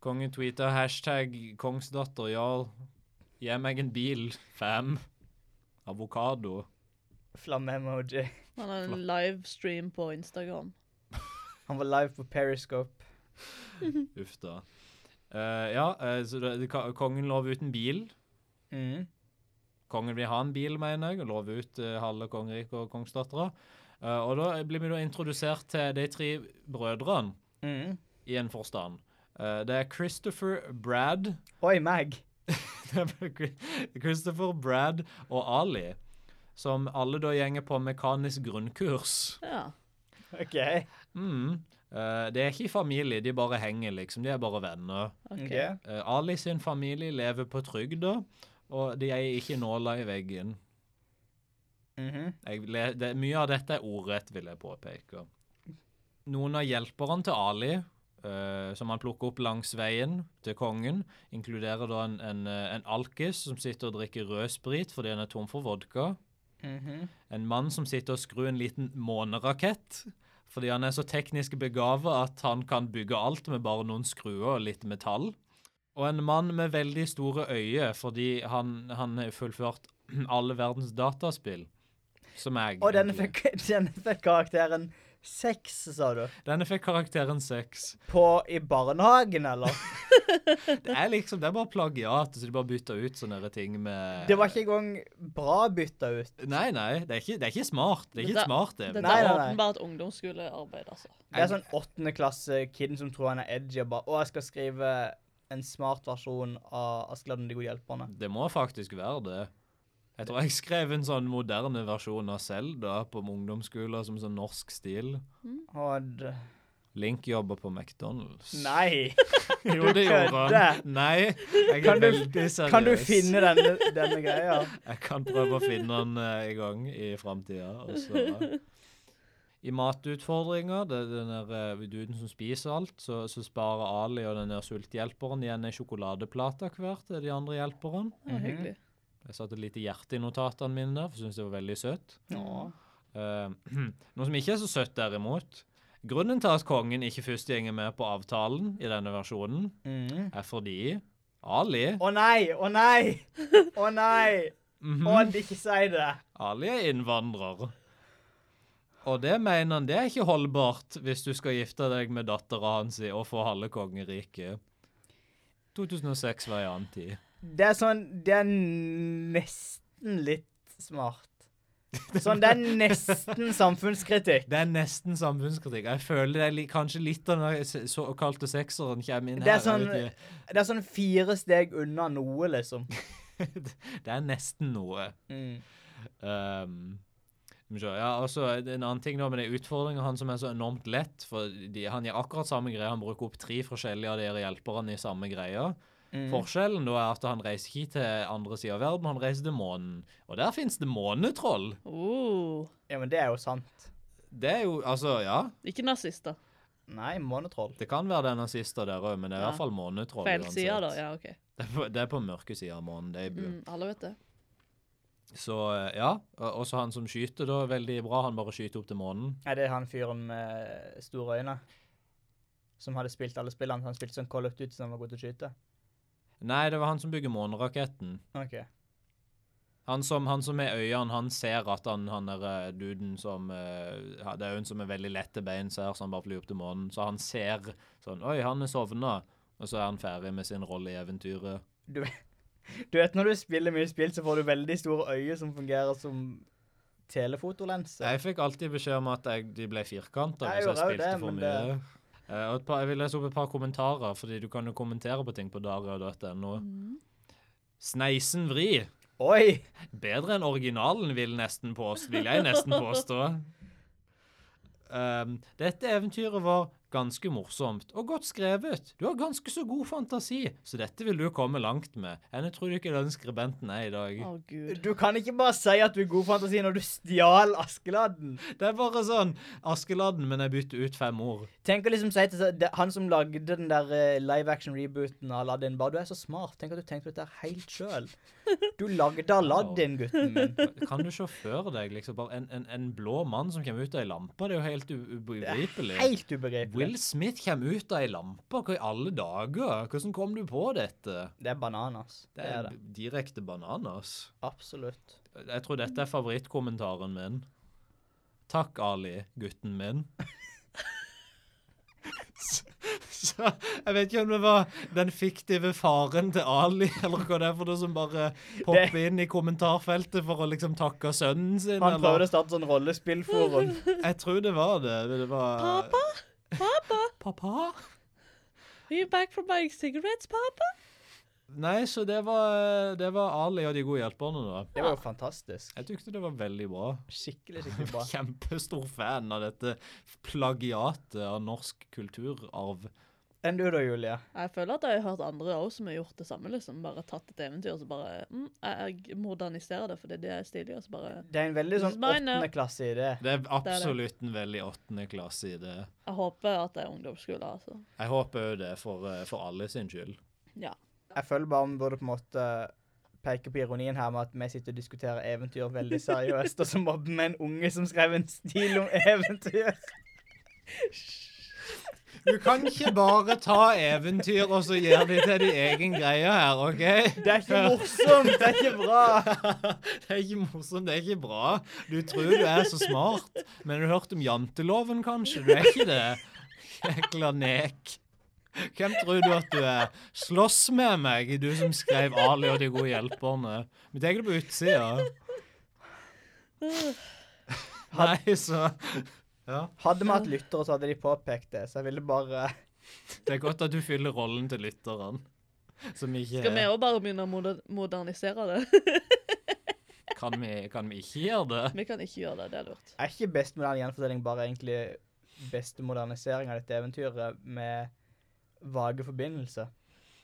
Kongen tweeter hashtag kongsdatter, jarl. Gi meg en bil. Fem. Avokado.
flamme-emoji.
Han har en livestream på Instagram.
Han var live på Periscope.
Uff da. Eh, ja, eh, så det, det, ka- kongen lover ut en bil.
Mm.
Kongen vil ha en bil, mener jeg, og lover ut eh, halve kongeriket og kongsdattera. Eh, og da blir vi da introdusert til de tre brødrene,
Mm.
i en forstand. Eh, det er Christopher Brad
Oi, meg.
Det er Chris- Christopher Brad og Ali, som alle da gjenger på mekanisk grunnkurs.
Ja.
OK.
Mm. Eh, det er ikke familie, de bare henger, liksom. De er bare venner.
ok.
ok.
Eh, Ali sin familie lever på trygda, og de eier ikke nåla i veggen.
Mhm.
Jeg, le- det, mye av dette er ordrett, vil jeg påpeke. Noen av hjelperne til Ali, eh, som han plukker opp langs veien til kongen, inkluderer da en, en, eh, en alkis som sitter og drikker rød sprit fordi han er tom for vodka.
Mhm.
En mann som sitter og skrur en liten månerakett fordi han er så teknisk begava at han kan bygge alt med bare noen skruer og litt metall. Og en mann med veldig store øyne fordi han, han har fullført alle verdens dataspill. Som jeg.
Og denne
egentlig.
fikk, denne fikk karakteren seks, sa du.
denne fikk karakteren 6.
På i barnehagen, eller?
Det er liksom, det er bare plagiat, så de bare bytter ut sånne her ting med
Det var ikke engang bra bytta ut.
Nei, nei, det er ikke, det er ikke smart. Det er ikke
Det-
et smart, det.
Dette
Nei,
er
nei, nei.
åpenbart ungdomsskolearbeid, altså.
Det er sånn åttende klasse kiden som tror han er edgy og bare Å, jeg skal skrive en smart versjon av Askeladden og de gode hjelperne.
Det må faktisk være det. Jeg tror jeg skrev en sånn moderne versjon av Selda på ungdomsskolen som sånn norsk stil.
Og d-
Link jobber på McDonald's.
Nei.
jo, det gjorde han.
kødder.
Nei, jeg
Kan
er
du-
veldig seriøs.
Kan du finne denne, denne greia?
Jeg kan prøve å finne den eh, i gang i framtida. I matutfordringer, det, den der eh, duden som spiser alt, så, så sparer Ali og den der sulthjelperen igjen ei sjokoladeplate hver til de andre hjelperne.
Det
Mhm.
var hyggelig.
Jeg satte et lite hjerte i notatene mine der, for jeg syntes det var veldig søtt. Eh, noe som ikke er så søtt, derimot. Grunnen til at kongen ikke først gjenger med på avtalen i denne versjonen,
Mhm.
er fordi Ali
Å nei, å nei! Å nei!
Mhm.
Å, ikke si det.
Ali er innvandrer. Og det mener han, det er ikke holdbart hvis du skal gifte deg med dattera hans i- og få halve kongeriket. 2006 var en annen tid.
Det er sånn Det er nesten litt smart. Sånn, det er nesten samfunnskritikk.
Det er nesten samfunnskritikk. Jeg føler det er li kanskje litt av den der se- såkalte sekseren kommer inn
Det
her.
er, sånn,
jeg vet
det er sånn fire steg unna noe, liksom.
ikke. det er nesten noe.
Mm.
Um, skal vi se. ja, altså, en annen ting da med de utfordringene han som er så enormt lett, for de, han gjør akkurat samme greia, han bruker opp tre forskjellige av de hjelperne i samme greia.
Mm.
Forskjellen da er at han reiser ikke til andre siden av verden, han reiser til månen. Og der finnes det månetroll.
Uh,
Oh,
Ja, men det er jo sant.
Det er jo, altså, ja,
ikke nazister.
Nei, månetroll.
det kan være den siste der også, men det er i
Ja.
hvert fall månetroll.
Feil
uansett.
sider, da. Ja, OK.
Det er på, det er på mørke siden av månen, det er i bu.
Mm, alle vet det.
Så, eh, ja, og også han som skyter da, veldig bra, han bare skyter opp til månen.
Er det han fyren med store øyne? Som hadde spilt alle spillene? Han spilte sånn Call of Duty som han var god til å skyte?
Nei, det var han som bygger måneraketten.
OK.
Han som, han som er øynene, han ser at han, han er eh, duden som eh, ha- Det er hun som er veldig lett til beins her, så han bare flyr opp til månen. Så han ser sånn Oi, han er sovna. Og så er han ferdig med sin rolle i eventyret.
Du vet når du spiller mye spill, så får du veldig store øyne som fungerer som telefotolense.
Jeg fikk alltid beskjed om at jeg, de ble firkanta hvis
Jeg
jeg
gjorde jo
spilte
det,
for
men
mye.
det-
Eh, og et par, jeg vil lese opp et par kommentarer, fordi du kan jo kommentere på ting på dario.no. Sneisen vri.
Oi!
Bedre enn originalen, vil, nesten påstå, vil jeg nesten påstå. Ehm, dette eventyret var ganske morsomt og godt skrevet. Du har ganske så god fantasi, så dette vil du komme langt med. Enn jeg tror du ikke den skribenten er i dag.
Å, gud.
Du kan ikke bare si at du er god fantasi når du stjal Askeladden.
Det er bare sånn Askeladden, men jeg bytter ut fem ord.
Tenk å liksom si til seg- det- han som lagde den der eh, live action-rebooten av Aladdin, bare du er så smart. Tenk at du tenkte på dette her helt sjøl. Du lagde Aladdin, gutten min.
Kan du se for deg liksom bare en, en, en blå mann som kommer ut av ei lampe? Det er jo helt u- ubegripelig.
Helt ubegripelig.
Will Smith kommer ut av ei lampe? Hva i alle dager? Hvordan kom du på dette?
Det er bananas.
Det er b- direkte bananas.
Absolutt.
Jeg tror dette er favorittkommentaren min. Takk, Ali, gutten min. Så, så jeg vet ikke om det var den fiktive faren til Ali, eller hva det er for noe som bare popper inn i kommentarfeltet for å liksom takke sønnen sin.
Han prøvde
Eller.
å starte sånn rollespillforum.
Jeg tror det var det. det var,
Pappa? Pappa,
Pappa?
are you back from buying cigarettes, pappa?
Nei, så det var, det var Ali og de gode hjelperne, da.
Det var jo fantastisk.
Jeg tykte det var veldig bra.
Skikkelig, skikkelig bra.
Kjempestor fan av dette plagiatet av norsk kulturarv.
Enn du da, Julie?
Jeg føler at jeg har hørt andre også som har gjort det samme. liksom. Bare tatt et eventyr og så bare mm, jeg, jeg moderniserer det, for det er det jeg stilig. Og så bare
Det er en veldig sånn
This is mine now.
åttendeklasse-idé.
Det er absolutt en veldig åttende klasse i det.
Jeg håper at det er ungdomsskole, altså.
Jeg håper jo det for, eh, for alle sin skyld.
Ja.
Jeg føler bare om vi burde på en måte peke på ironien her med at vi sitter og diskuterer eventyr veldig seriøst, og så mobber vi en unge som skrev en stil om eventyr.
Du kan ikke bare ta eventyr og så gjøre de til din egen greie her, OK?
Det er ikke morsomt! Det er ikke bra!
Det er ikke morsomt, det er ikke bra. Du tror du er så smart, men du har hørt om janteloven, kanskje? Du er ikke det? Jækla nek. Hvem tror du at du er? Slåss med meg, du som skrev Ali og de gode hjelperne. Vi tar det på utsida. Nei, så Ja.
Hadde vi hatt lyttere, så hadde de påpekt det, så jeg ville bare
Det er godt at du fyller rollen til lytteren. Som ikke
Skal vi òg bare begynne å moder modernisere det?
kan, vi, kan vi ikke gjøre det?
vi kan ikke gjøre det. Det er lurt.
Er ikke best med den gjenfortelling bare egentlig beste modernisering av dette eventyret med vage forbindelser.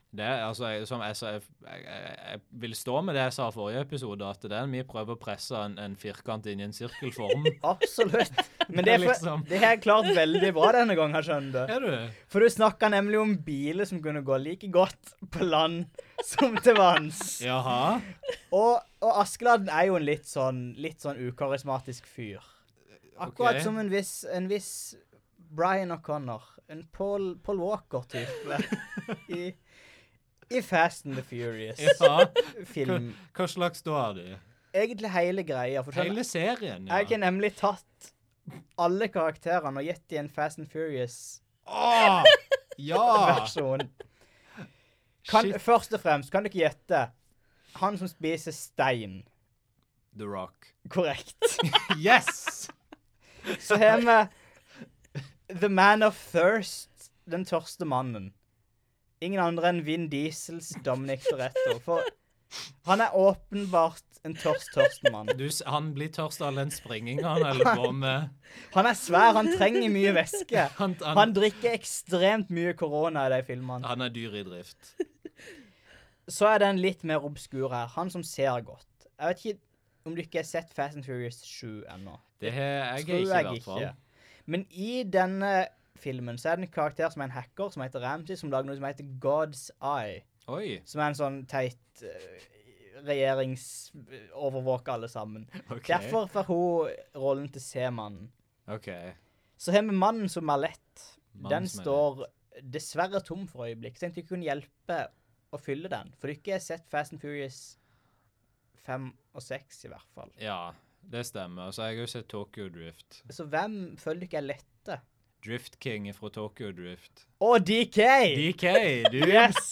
Det, er, altså, jeg, som jeg, sa, jeg, jeg, jeg- jeg vil stå med det jeg sa i forrige episode, at det er vi prøver å presse en, en firkant inn i en sirkelform.
Absolutt. Men det, er for,
Liksom.
det har jeg klart veldig bra denne gangen, skjønner du.
Er du?
For du snakka nemlig om biler som kunne gå like godt på land som til vanns.
Jaha.
Og, og Askeladden er jo en litt sånn, litt sånn ukarismatisk fyr. Akkurat
Ok.
som en viss, en viss Brian O'Connor. En Paul, Paul Walker-type. I, I Fast and the
Ja.
Furious-film.
Hva slags da er de?
Egentlig hele greia. For sånn,
Hele serien, ja.
jeg har nemlig tatt alle karakterene og gitt dem en Fast and Furious-versjon.
Åh, Ah, ja!
Kan,
Ah. Shit.
først og fremst, kan du ikke gjette? Han som spiser stein.
The Rock.
Korrekt.
Yes!
Så har vi The Man of Thirst, den tørste mannen. Ingen andre enn Vin Diesels Dominic Toretto. For han er åpenbart en tørst, tørst mann.
Du, s- han blir tørst av all den springinga han holder på med.
Han er svær, han trenger mye væske.
Han,
Han
han,
drikker ekstremt mye korona i de filmene.
han er dyr i drift.
Så er den litt mer obskur her. Han som ser godt. Jeg vet ikke om du ikke har sett Fast and Furious 7 ennå.
Det har jeg ikke,
Tror
i
jeg
hvert fall.
ikke. Men i denne filmen så er det en karakter som er en hacker, som heter Ramsey, som lager noe som heter God's Eye.
Oi.
Som er en sånn teit eh, regjeringsovervåke alle sammen.
OK.
Derfor får hun rollen til C-mannen.
OK.
Så har vi mannen som er lett.
Mannen
Den
som er
står dessverre tom for øyeblikk. Så jeg tenkte jeg kunne hjelpe å fylle den. For du ikke har sett Fast and Furious 5 og 6 i hvert fall.
Ja, det stemmer. Så har jeg har jo sett Tokyo Drift.
Så hvem føler du ikke er lette?
Drift King fra Tokyo Drift.
Å, DK!
DK, du!
Yes!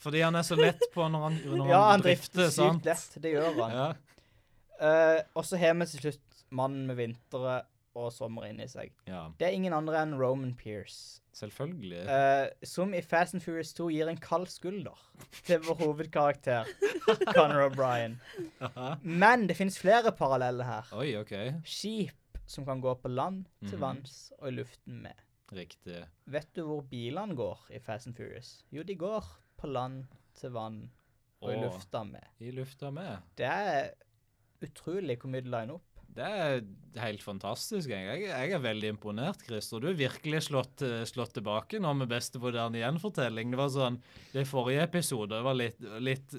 Fordi han er så lett på når han, når han,
Ja, han
drifter,
drifter
sant?
sykt lett. Det gjør han.
Ja.
Eh, og så har vi til slutt mannen med vintre og sommer inni seg.
ja.
Det er ingen andre enn Roman Pierce,
Selvfølgelig.
eh, som i Fast and Furious 2 gir en kald skulder til vår hovedkarakter, Conor O'Brien.
Aha.
Men det finnes flere paralleller her.
Oi, OK.
Skip som kan gå på land, til
Mhm.
vanns og i luften med.
Riktig.
Vet du hvor bilene går i Fast and Furious? Jo, de går på land, til vann og i
Å.
lufta med.
I lufta med.
Det er utrolig hvor mye de liner opp.
Det er helt fantastisk. Jeg, jeg, jeg er veldig imponert, Christer. Du har virkelig slått, eh, slått tilbake nå med beste moderne gjenfortelling. Det var sånn, det forrige episode var litt, litt,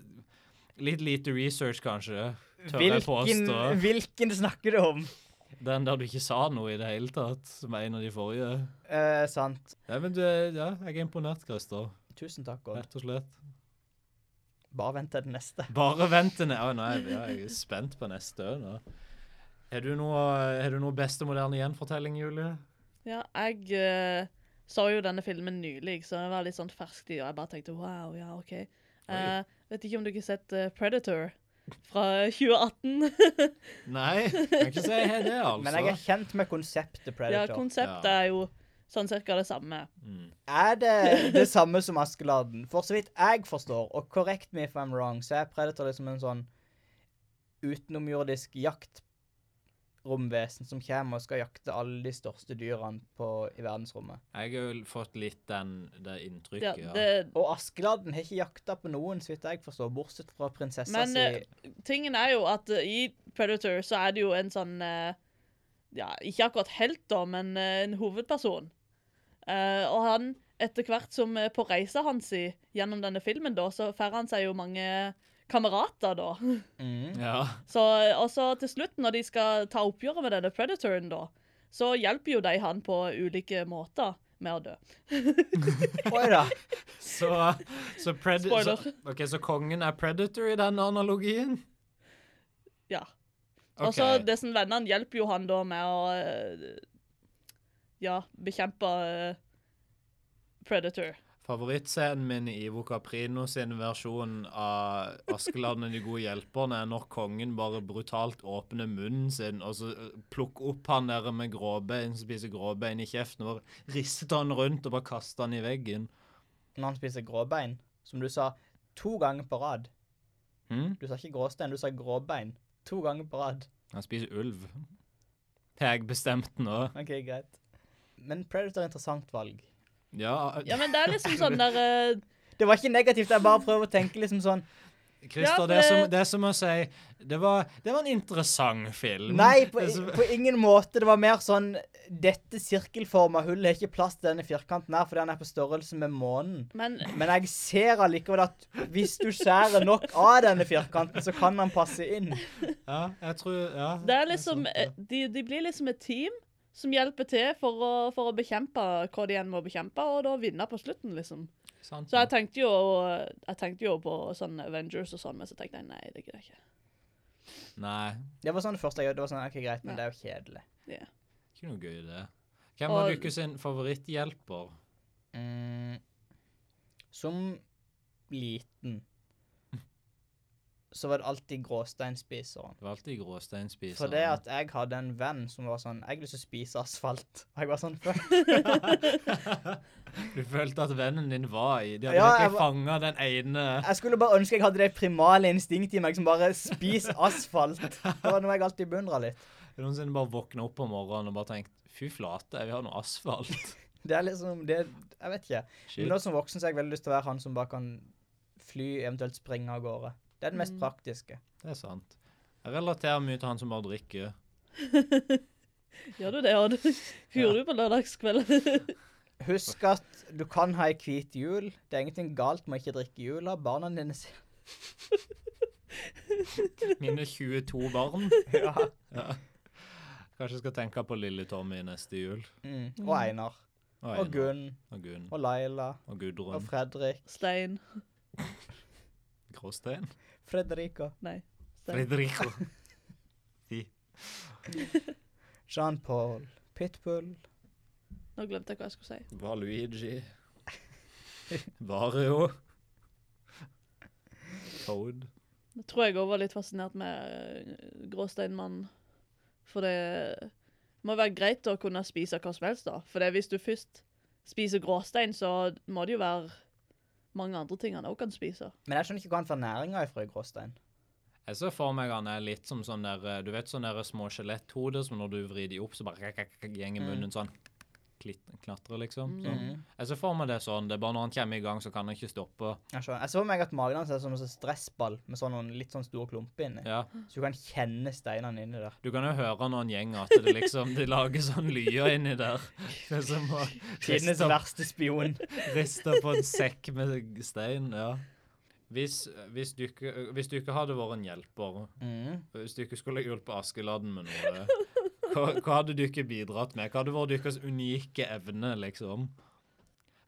litt lite research, kanskje. Tør jeg
Hvilken,
påstå.
hvilken snakker du om?
Den der du ikke sa noe i det hele tatt, som er en av de forrige.
Eh, sant.
Nei, men du, ja, jeg er imponert, Christer.
Tusen takk, Odd.
Rett og slett.
Bare vent til den neste.
Bare vent til ne- Å, nei, ja, jeg er spent på neste også nå. Har du noe, har du noe beste moderne gjenfortelling, Julie?
Ja, jeg eh, så jo denne filmen nylig, så den var litt sånn fersk i, og jeg bare tenkte wow, ja, OK. Eh, vet ikke om dere har sett eh, Predator fra 2018?
Nei, jeg kan ikke si jeg har det, altså.
Men jeg er kjent med konseptet
ja,
Predator.
konseptet
Ja.
er jo sånn cirka det samme.
Mm.
er det det samme som Askeladden? For så vidt jeg forstår, og correct me if I'm wrong, så er Predator liksom en sånn utenomjordisk jaktromvesen som kommer og skal jakte alle de største dyrene på, i verdensrommet.
Jeg har jo fått litt den, det
Ja,
inntrykket, ja.
det,
Og Askeladden har ikke jakta på noen, så vidt jeg forstår, bortsett fra prinsessa
Men, eh,
si.
tingen er jo at eh, i Predator så er det jo en sånn eh, Ja, ikke akkurat helt, da, men eh, en hovedperson. Eh, og han, etter hvert som eh, på reisa hans i, gjennom denne filmen, da, så får han seg jo mange kamerater, da.
Mm.
Ja.
Så, eh, og så til slutt, når de skal ta oppgjøret med denne Predatoren, da, så hjelper jo de han på ulike måter med å dø.
Oi da.
Så, så, pred så,
Spoiler.
ok, så kongen er predator i den analogien?
Ja.
Ok.
Og så disse vennene hjelper jo han da med å eh, Ja, bekjempe eh, Predator.
Favorittscenen min i Ivo Caprino sin versjon av Askeladden og de gode hjelperne er når kongen bare brutalt åpner munnen sin og så øh, plukker opp han der med gråbein, som spiser gråbein i kjeften, og bare rister han rundt og bare kaster han i veggen.
når han spiser gråbein, som du sa to ganger på rad.
Hm?
Du sa ikke gråstein, du sa gråbein. To ganger på rad.
Han spiser ulv. Det har jeg bestemt nå.
OK, greit. Men Predator er et interessant valg.
Ja,
Ja, men det er liksom sånn der eh,
Det var ikke negativt, jeg bare prøver å tenke liksom sånn
Christer,
Ja,
det, er som,
det-
det er som å si det var, det var en interessant film.
Nei, på,
Det er som-
på ingen måte. Det var mer sånn Dette sirkelforma hullet har ikke plass til denne firkanten her fordi den er på størrelse med månen.
Men
Men jeg ser allikevel at hvis du skjærer nok av denne firkanten, så kan den passe inn.
ja, jeg tror, ja,
det er liksom
sant,
eh, de, de blir liksom et team som hjelper til for å, for å bekjempe hva de enn må bekjempe, og da vinne på slutten, liksom.
ja. Sant,
Så
ja.
jeg tenkte jo, jeg tenkte jo på sånn Avengers og sånn, men så tenkte jeg nei, det gidder jeg ikke.
Nei,
Det var sånn det første jeg gjorde. Det var sånn, ok, greit, men det er jo kjedelig.
ikke noe gøy i det. Hvem var
Og-
Dukke sin favoritthjelper?
Mm. Som liten så var det alltid gråsteinspiseren.
Det var alltid gråsteinspiseren.
For det at jeg hadde en venn som var sånn Jeg har lyst til å spise asfalt. Og jeg var sånn fuck.
Du følte at vennen din var i De hadde
Ja, jeg
ikke
var-
fanga den ene
Jeg skulle bare ønske jeg hadde det primale instinktet i meg som bare Spis asfalt. Det var noe jeg alltid beundra litt.
Noensinne bare våkna opp om morgenen og bare tenkt Fy flate, vi har noe asfalt.
Det er liksom det Jeg vet ikke.
Shit.
Men nå som voksen så har jeg veldig lyst til å være han som bare kan fly, eventuelt springe av gårde. Det er det mest praktiske.
Det er sant. Jeg relaterer mye til han som bare drikker.
Gjør du det, Odd? Gjorde du på lørdagskvelden?
Husk at du kan ha ei hvit jul. Det er ingenting galt med å ikke drikke i jula. Barna dine sier
Mine 22 barn.
ja.
Kanskje jeg skal tenke på lille Tommy neste jul.
Mm. Og Einar. Og
Einar,
Gunn.
Og Gunn.
Og Laila.
Og
Og
Gudrun.
Fredrik.
Stein.
Gråstein.
Fredrika.
Nei. Stein.
Fredrico.
Jean-Paul. Pitbull.
Nå glemte jeg hva jeg skulle si.
Valuigi. Vario. Toad.
Jeg tror jeg òg var litt fascinert med eh, Gråsteinmannen. For det må være greit å kunne spise hva som helst, da. For det, hvis du først spiser gråstein, så må det jo være mange andre ting han òg kan spise.
Men jeg skjønner ikke hva han får næringa ifra i Gråstein.
Jeg ser for meg han er litt som sånn der eh, Du vet sånne der små skjeletthoder som når du vrir de opp, så bare kak, kak, kak, gjenger
Mm.
munnen sånn. Klitt, knatrer,
Mm.
liksom. Sånn. Jeg ser for meg det sånn. Det er bare når han kommer i gang, så kan han ikke stoppe.
Jeg skjønner. Jeg så for meg at magen hans er som en sånn stressball med sånn noen litt sånn store klumper inni.
Ja.
Så du kan kjenne steinene inni der.
Du kan jo høre når han gjenger at det liksom De lager sånn lyder inni der. Det er som å
Tidenes
riste-
verste spion.
Rista på en sekk med stein, ja. Hvis, hvis, du ikke, hvis du ikke hadde vært en hjelper,
Mm.
hvis du ikke skulle hjulpet Askeladden med noe, eh, hva, hva hadde du ikke bidratt med? Hva hadde vært deres unike evne, liksom?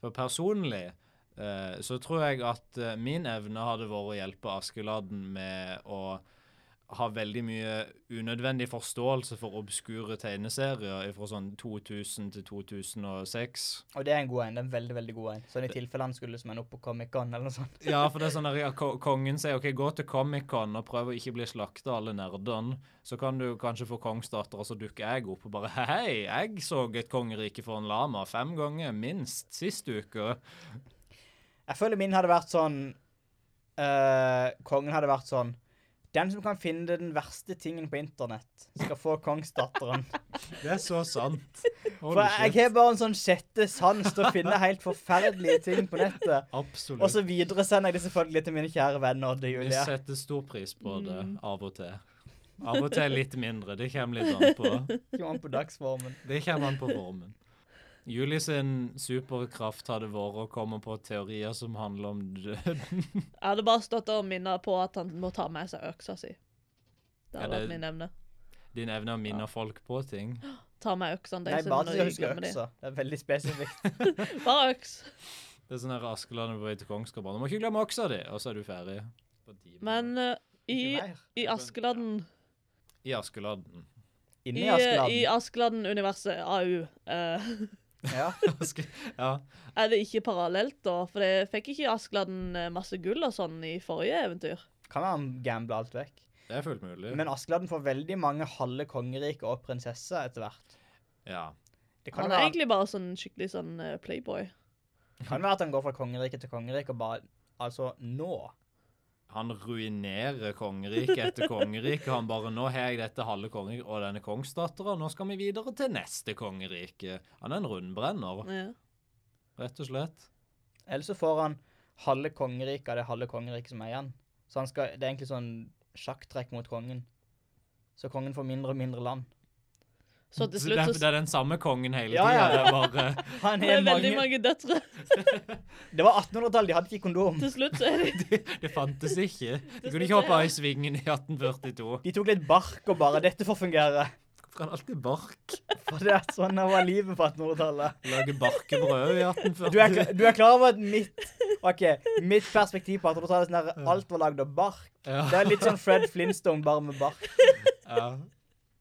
For personlig eh, så tror jeg at eh, min evne hadde vært å hjelpe Askeladden med å ha veldig mye unødvendig forståelse for obskure tegneserier fra sånn 2000 til 2006.
Og det er en god en. Det er en veldig, veldig god en. Sånn i tilfelle han skulle som en opp på Comic-Con eller noe sånt.
Ja, for det er sånn der, ja, ko- kongen sier OK, gå til Comic-Con og prøv å ikke bli slakta alle nerdene. Så kan du kanskje få kongsdatter, og så dukker jeg opp og bare Hei, jeg så et kongerike for en lama fem ganger, minst, sist uke.
Jeg føler min hadde vært sånn eh, Kongen hadde vært sånn Den som kan finne den verste tingen på internett, skal få kongsdatteren.
Det er så sant.
For
Holy
jeg
shit.
har bare en sånn sjette sans til å finne helt forferdelige ting på nettet. Og
Absolutt.
så videresender jeg det selvfølgelig til mine kjære venner Odd og
Vi
Julia.
setter stor pris på det av og til. Av og til litt mindre. Det kommer litt an på.
Ikke an på dagsformen.
Det kommer an på formen. Julie sin superkraft hadde vært å komme på teorier som handler om død.
Jeg hadde bare stått og minnet på at han må ta med seg øksa si. Det
Ja,
hadde
det-
vært min evne.
Din evne å minne folk på ting.
Ta med øksene
Nei,
deres
bare
når
til å
de
huske
glemmer de.
øksa. Det er veldig spesifikt.
Bare øks.
Det er sånn der Askeland er på vei til Kongsgård. bare, Du må ikke glemme oksa di! Og så er du ferdig. På timen.
Men eh, i,
Ikke mer.
i Askeladden
I Askeladden.
Inni
I, eh, i
Askeladden.
Askeladden-universet, AU, eh,
Ja.
Aske, ja.
er det ikke parallelt, da? For det fikk ikke Askeladden eh, masse gull og sånn i forrige eventyr?
Kan være han gambler alt vekk.
Det er fullt mulig.
Men Askeladden får veldig mange halve kongeriker og prinsesser etter hvert.
ja.
Det kan
Han
jo
er
være,
egentlig bare sånn skikkelig sånn eh, playboy.
kan være at han går fra kongerike til kongerike og bare Altså nå.
han ruinerer kongerike etter kongerike. Han bare 'Nå har jeg dette halve kongeriket og denne kongsdattera. Nå skal vi videre til neste kongerike.' Han er en rundbrenner,
Ja.
rett og slett.
Eller så får han halve kongeriket av det halve kongeriket som er igjen. Så han skal, det er egentlig sånn sjakktrekk mot kongen. Så kongen får mindre og mindre land.
Så til
Så det, er-
slutt
det
så
er den samme kongen hele
Ja,
tida.
ja.
Det er bare
Han
det
har
er
mange,
veldig mange døtre.
Det var 1800-tallet, de hadde ikke kondom.
Til slutt så er de
Det, det fantes ikke. Du kunne ikke hoppe i svingen i 1842.
De tok litt bark og bare 'Dette får fungere'.
Hvorfor er det alltid bark?
For det er sånn det var livet på 1800-tallet.
Lage barkebrød i
Du, er
1842.
kla- du er klar over at mitt Ok, mitt perspektiv på 1800-tallet er sånn der alt var lagd av bark. Det
Ja,
er litt sånn Fred Flintstone, bare med bark.
ja.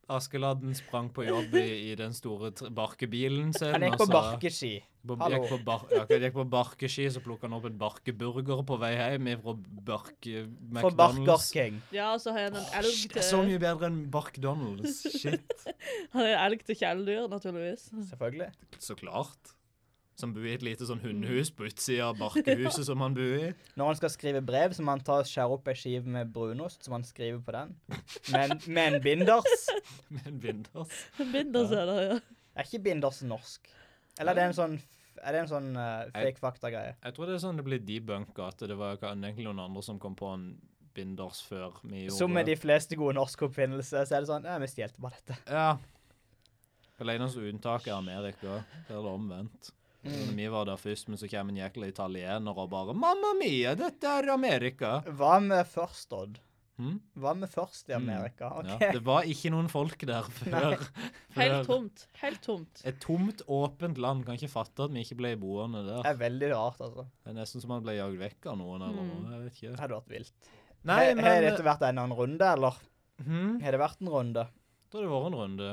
Askeladden sprang på jobb i, i den store tr- barkebilen sin.
Han gikk
og
på
så-
barkeski.
På,
Hallo.
gikk på, bar, ja, ok, gikk på barkeski, så plukka han opp en barkeburger på vei hjem fra barke...
For
McDonald's.
barkerking.
Ja, og så har han en elg
Shit, det er så
til
mye bedre enn bark-Donalds. Shit.
Han har en elg til kjæledyr, naturligvis.
Selvfølgelig.
Så klart. Som bor i et lite sånn hundehus på utsida av barkehuset som han bor i.
Når han skal skrive brev, så må han ta og skjære opp ei skive med brunost, som han skriver på den. Med en, med en binders.
Med en vinders.
Binder seg der, ja.
Er ikke binders norsk? Eller er det en sånn, f- er det en sånn eh, fake fakta-greie?
Jeg tror det er sånn det blir debunka, at det var kan- egentlig noen andre som kom på en binders før vi gjorde
Som med de fleste gode norske oppfinnelser, så er det sånn Ja, vi stjelte bare dette.
Ja. Eller eneste unntaket er Amerika. Der er det omvendt. Når vi var der først, men så kommer en jækla italiener og bare 'Mamma mia, dette er Amerika'.
Hva med først, Odd?
Hm?
Hva med først i Amerika?
Ja,
OK.
det var ikke noen folk der før.
Helt tomt. Helt tomt.
Et tomt, åpent land. Kan ikke fatte at vi ikke ble boende
Det
der.
er veldig rart, altså.
Det er nesten som man ble jagd vekk av noen. eller
Mm.
noe, jeg vet
Det
ikke.
hadde vært vilt.
Nei,
Har- Har
men
dette vært en annen runde, eller?
hm?
Har det vært en runde?
Jeg tror det har vært en runde.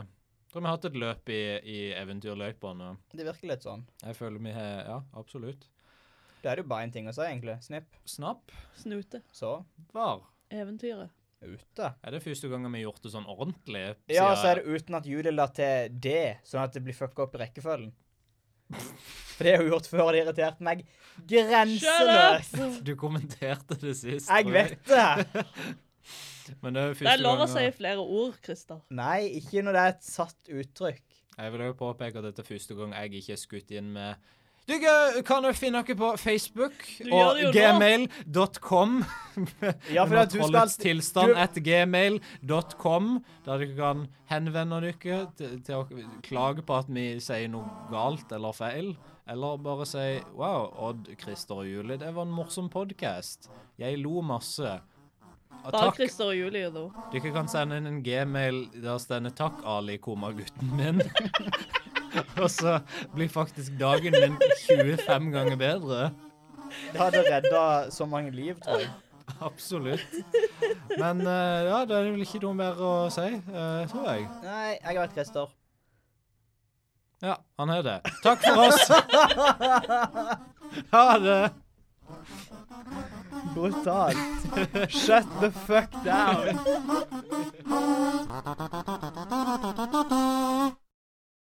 Jeg tror vi har hatt et løp i, i eventyrløypene.
Det virker litt sånn.
Jeg føler vi har Ja, absolutt.
Da er det jo bare én ting å si, egentlig. Snipp.
Snapp
Snute.
Så.
var.
Eventyret.
Ute.
Er det første gangen vi har gjort det sånn ordentlig?
Ja, så er det uten at Julie la til det, sånn at det blir fucka opp i rekkefølgen. For det har hun gjort før, og det irriterte meg grenseløst.
Du kommenterte det sist.
Jeg
tror
vet det.
Men det er jo
Det
første
er lov å si
gangen-
flere ord, Christer.
Nei, ikke når det er et satt uttrykk.
Jeg vil jo påpeke at dette er første gang jeg ikke er skutt inn med Du eh, kan jo finne dere på Facebook
gjør
og
det jo nå.
gmail.com.
Ja, for at du skal
Trollets
alltid-
tilstand
du-
at gmail.com, der dere kan henvende dere til, til å klage på at vi sier noe galt eller feil. Eller bare si Wow, Odd, Christer og Julie, det var en morsom podkast. Jeg lo masse. Og
Bare
takk.
Christer og Julie, da.
Dere kan sende inn en gmail der stender 'Takk, Ali, komagutten min'. Og så blir faktisk dagen min 25 ganger bedre.
Det hadde redda så mange liv, tror jeg.
Absolutt. Men eh, ja, da er det vel ikke noe mer å si, eh, tror jeg.
Nei, jeg har vært Christer.
Ja, han er det. Takk for oss. Ha det.
Brutalt. Shut the fuck down.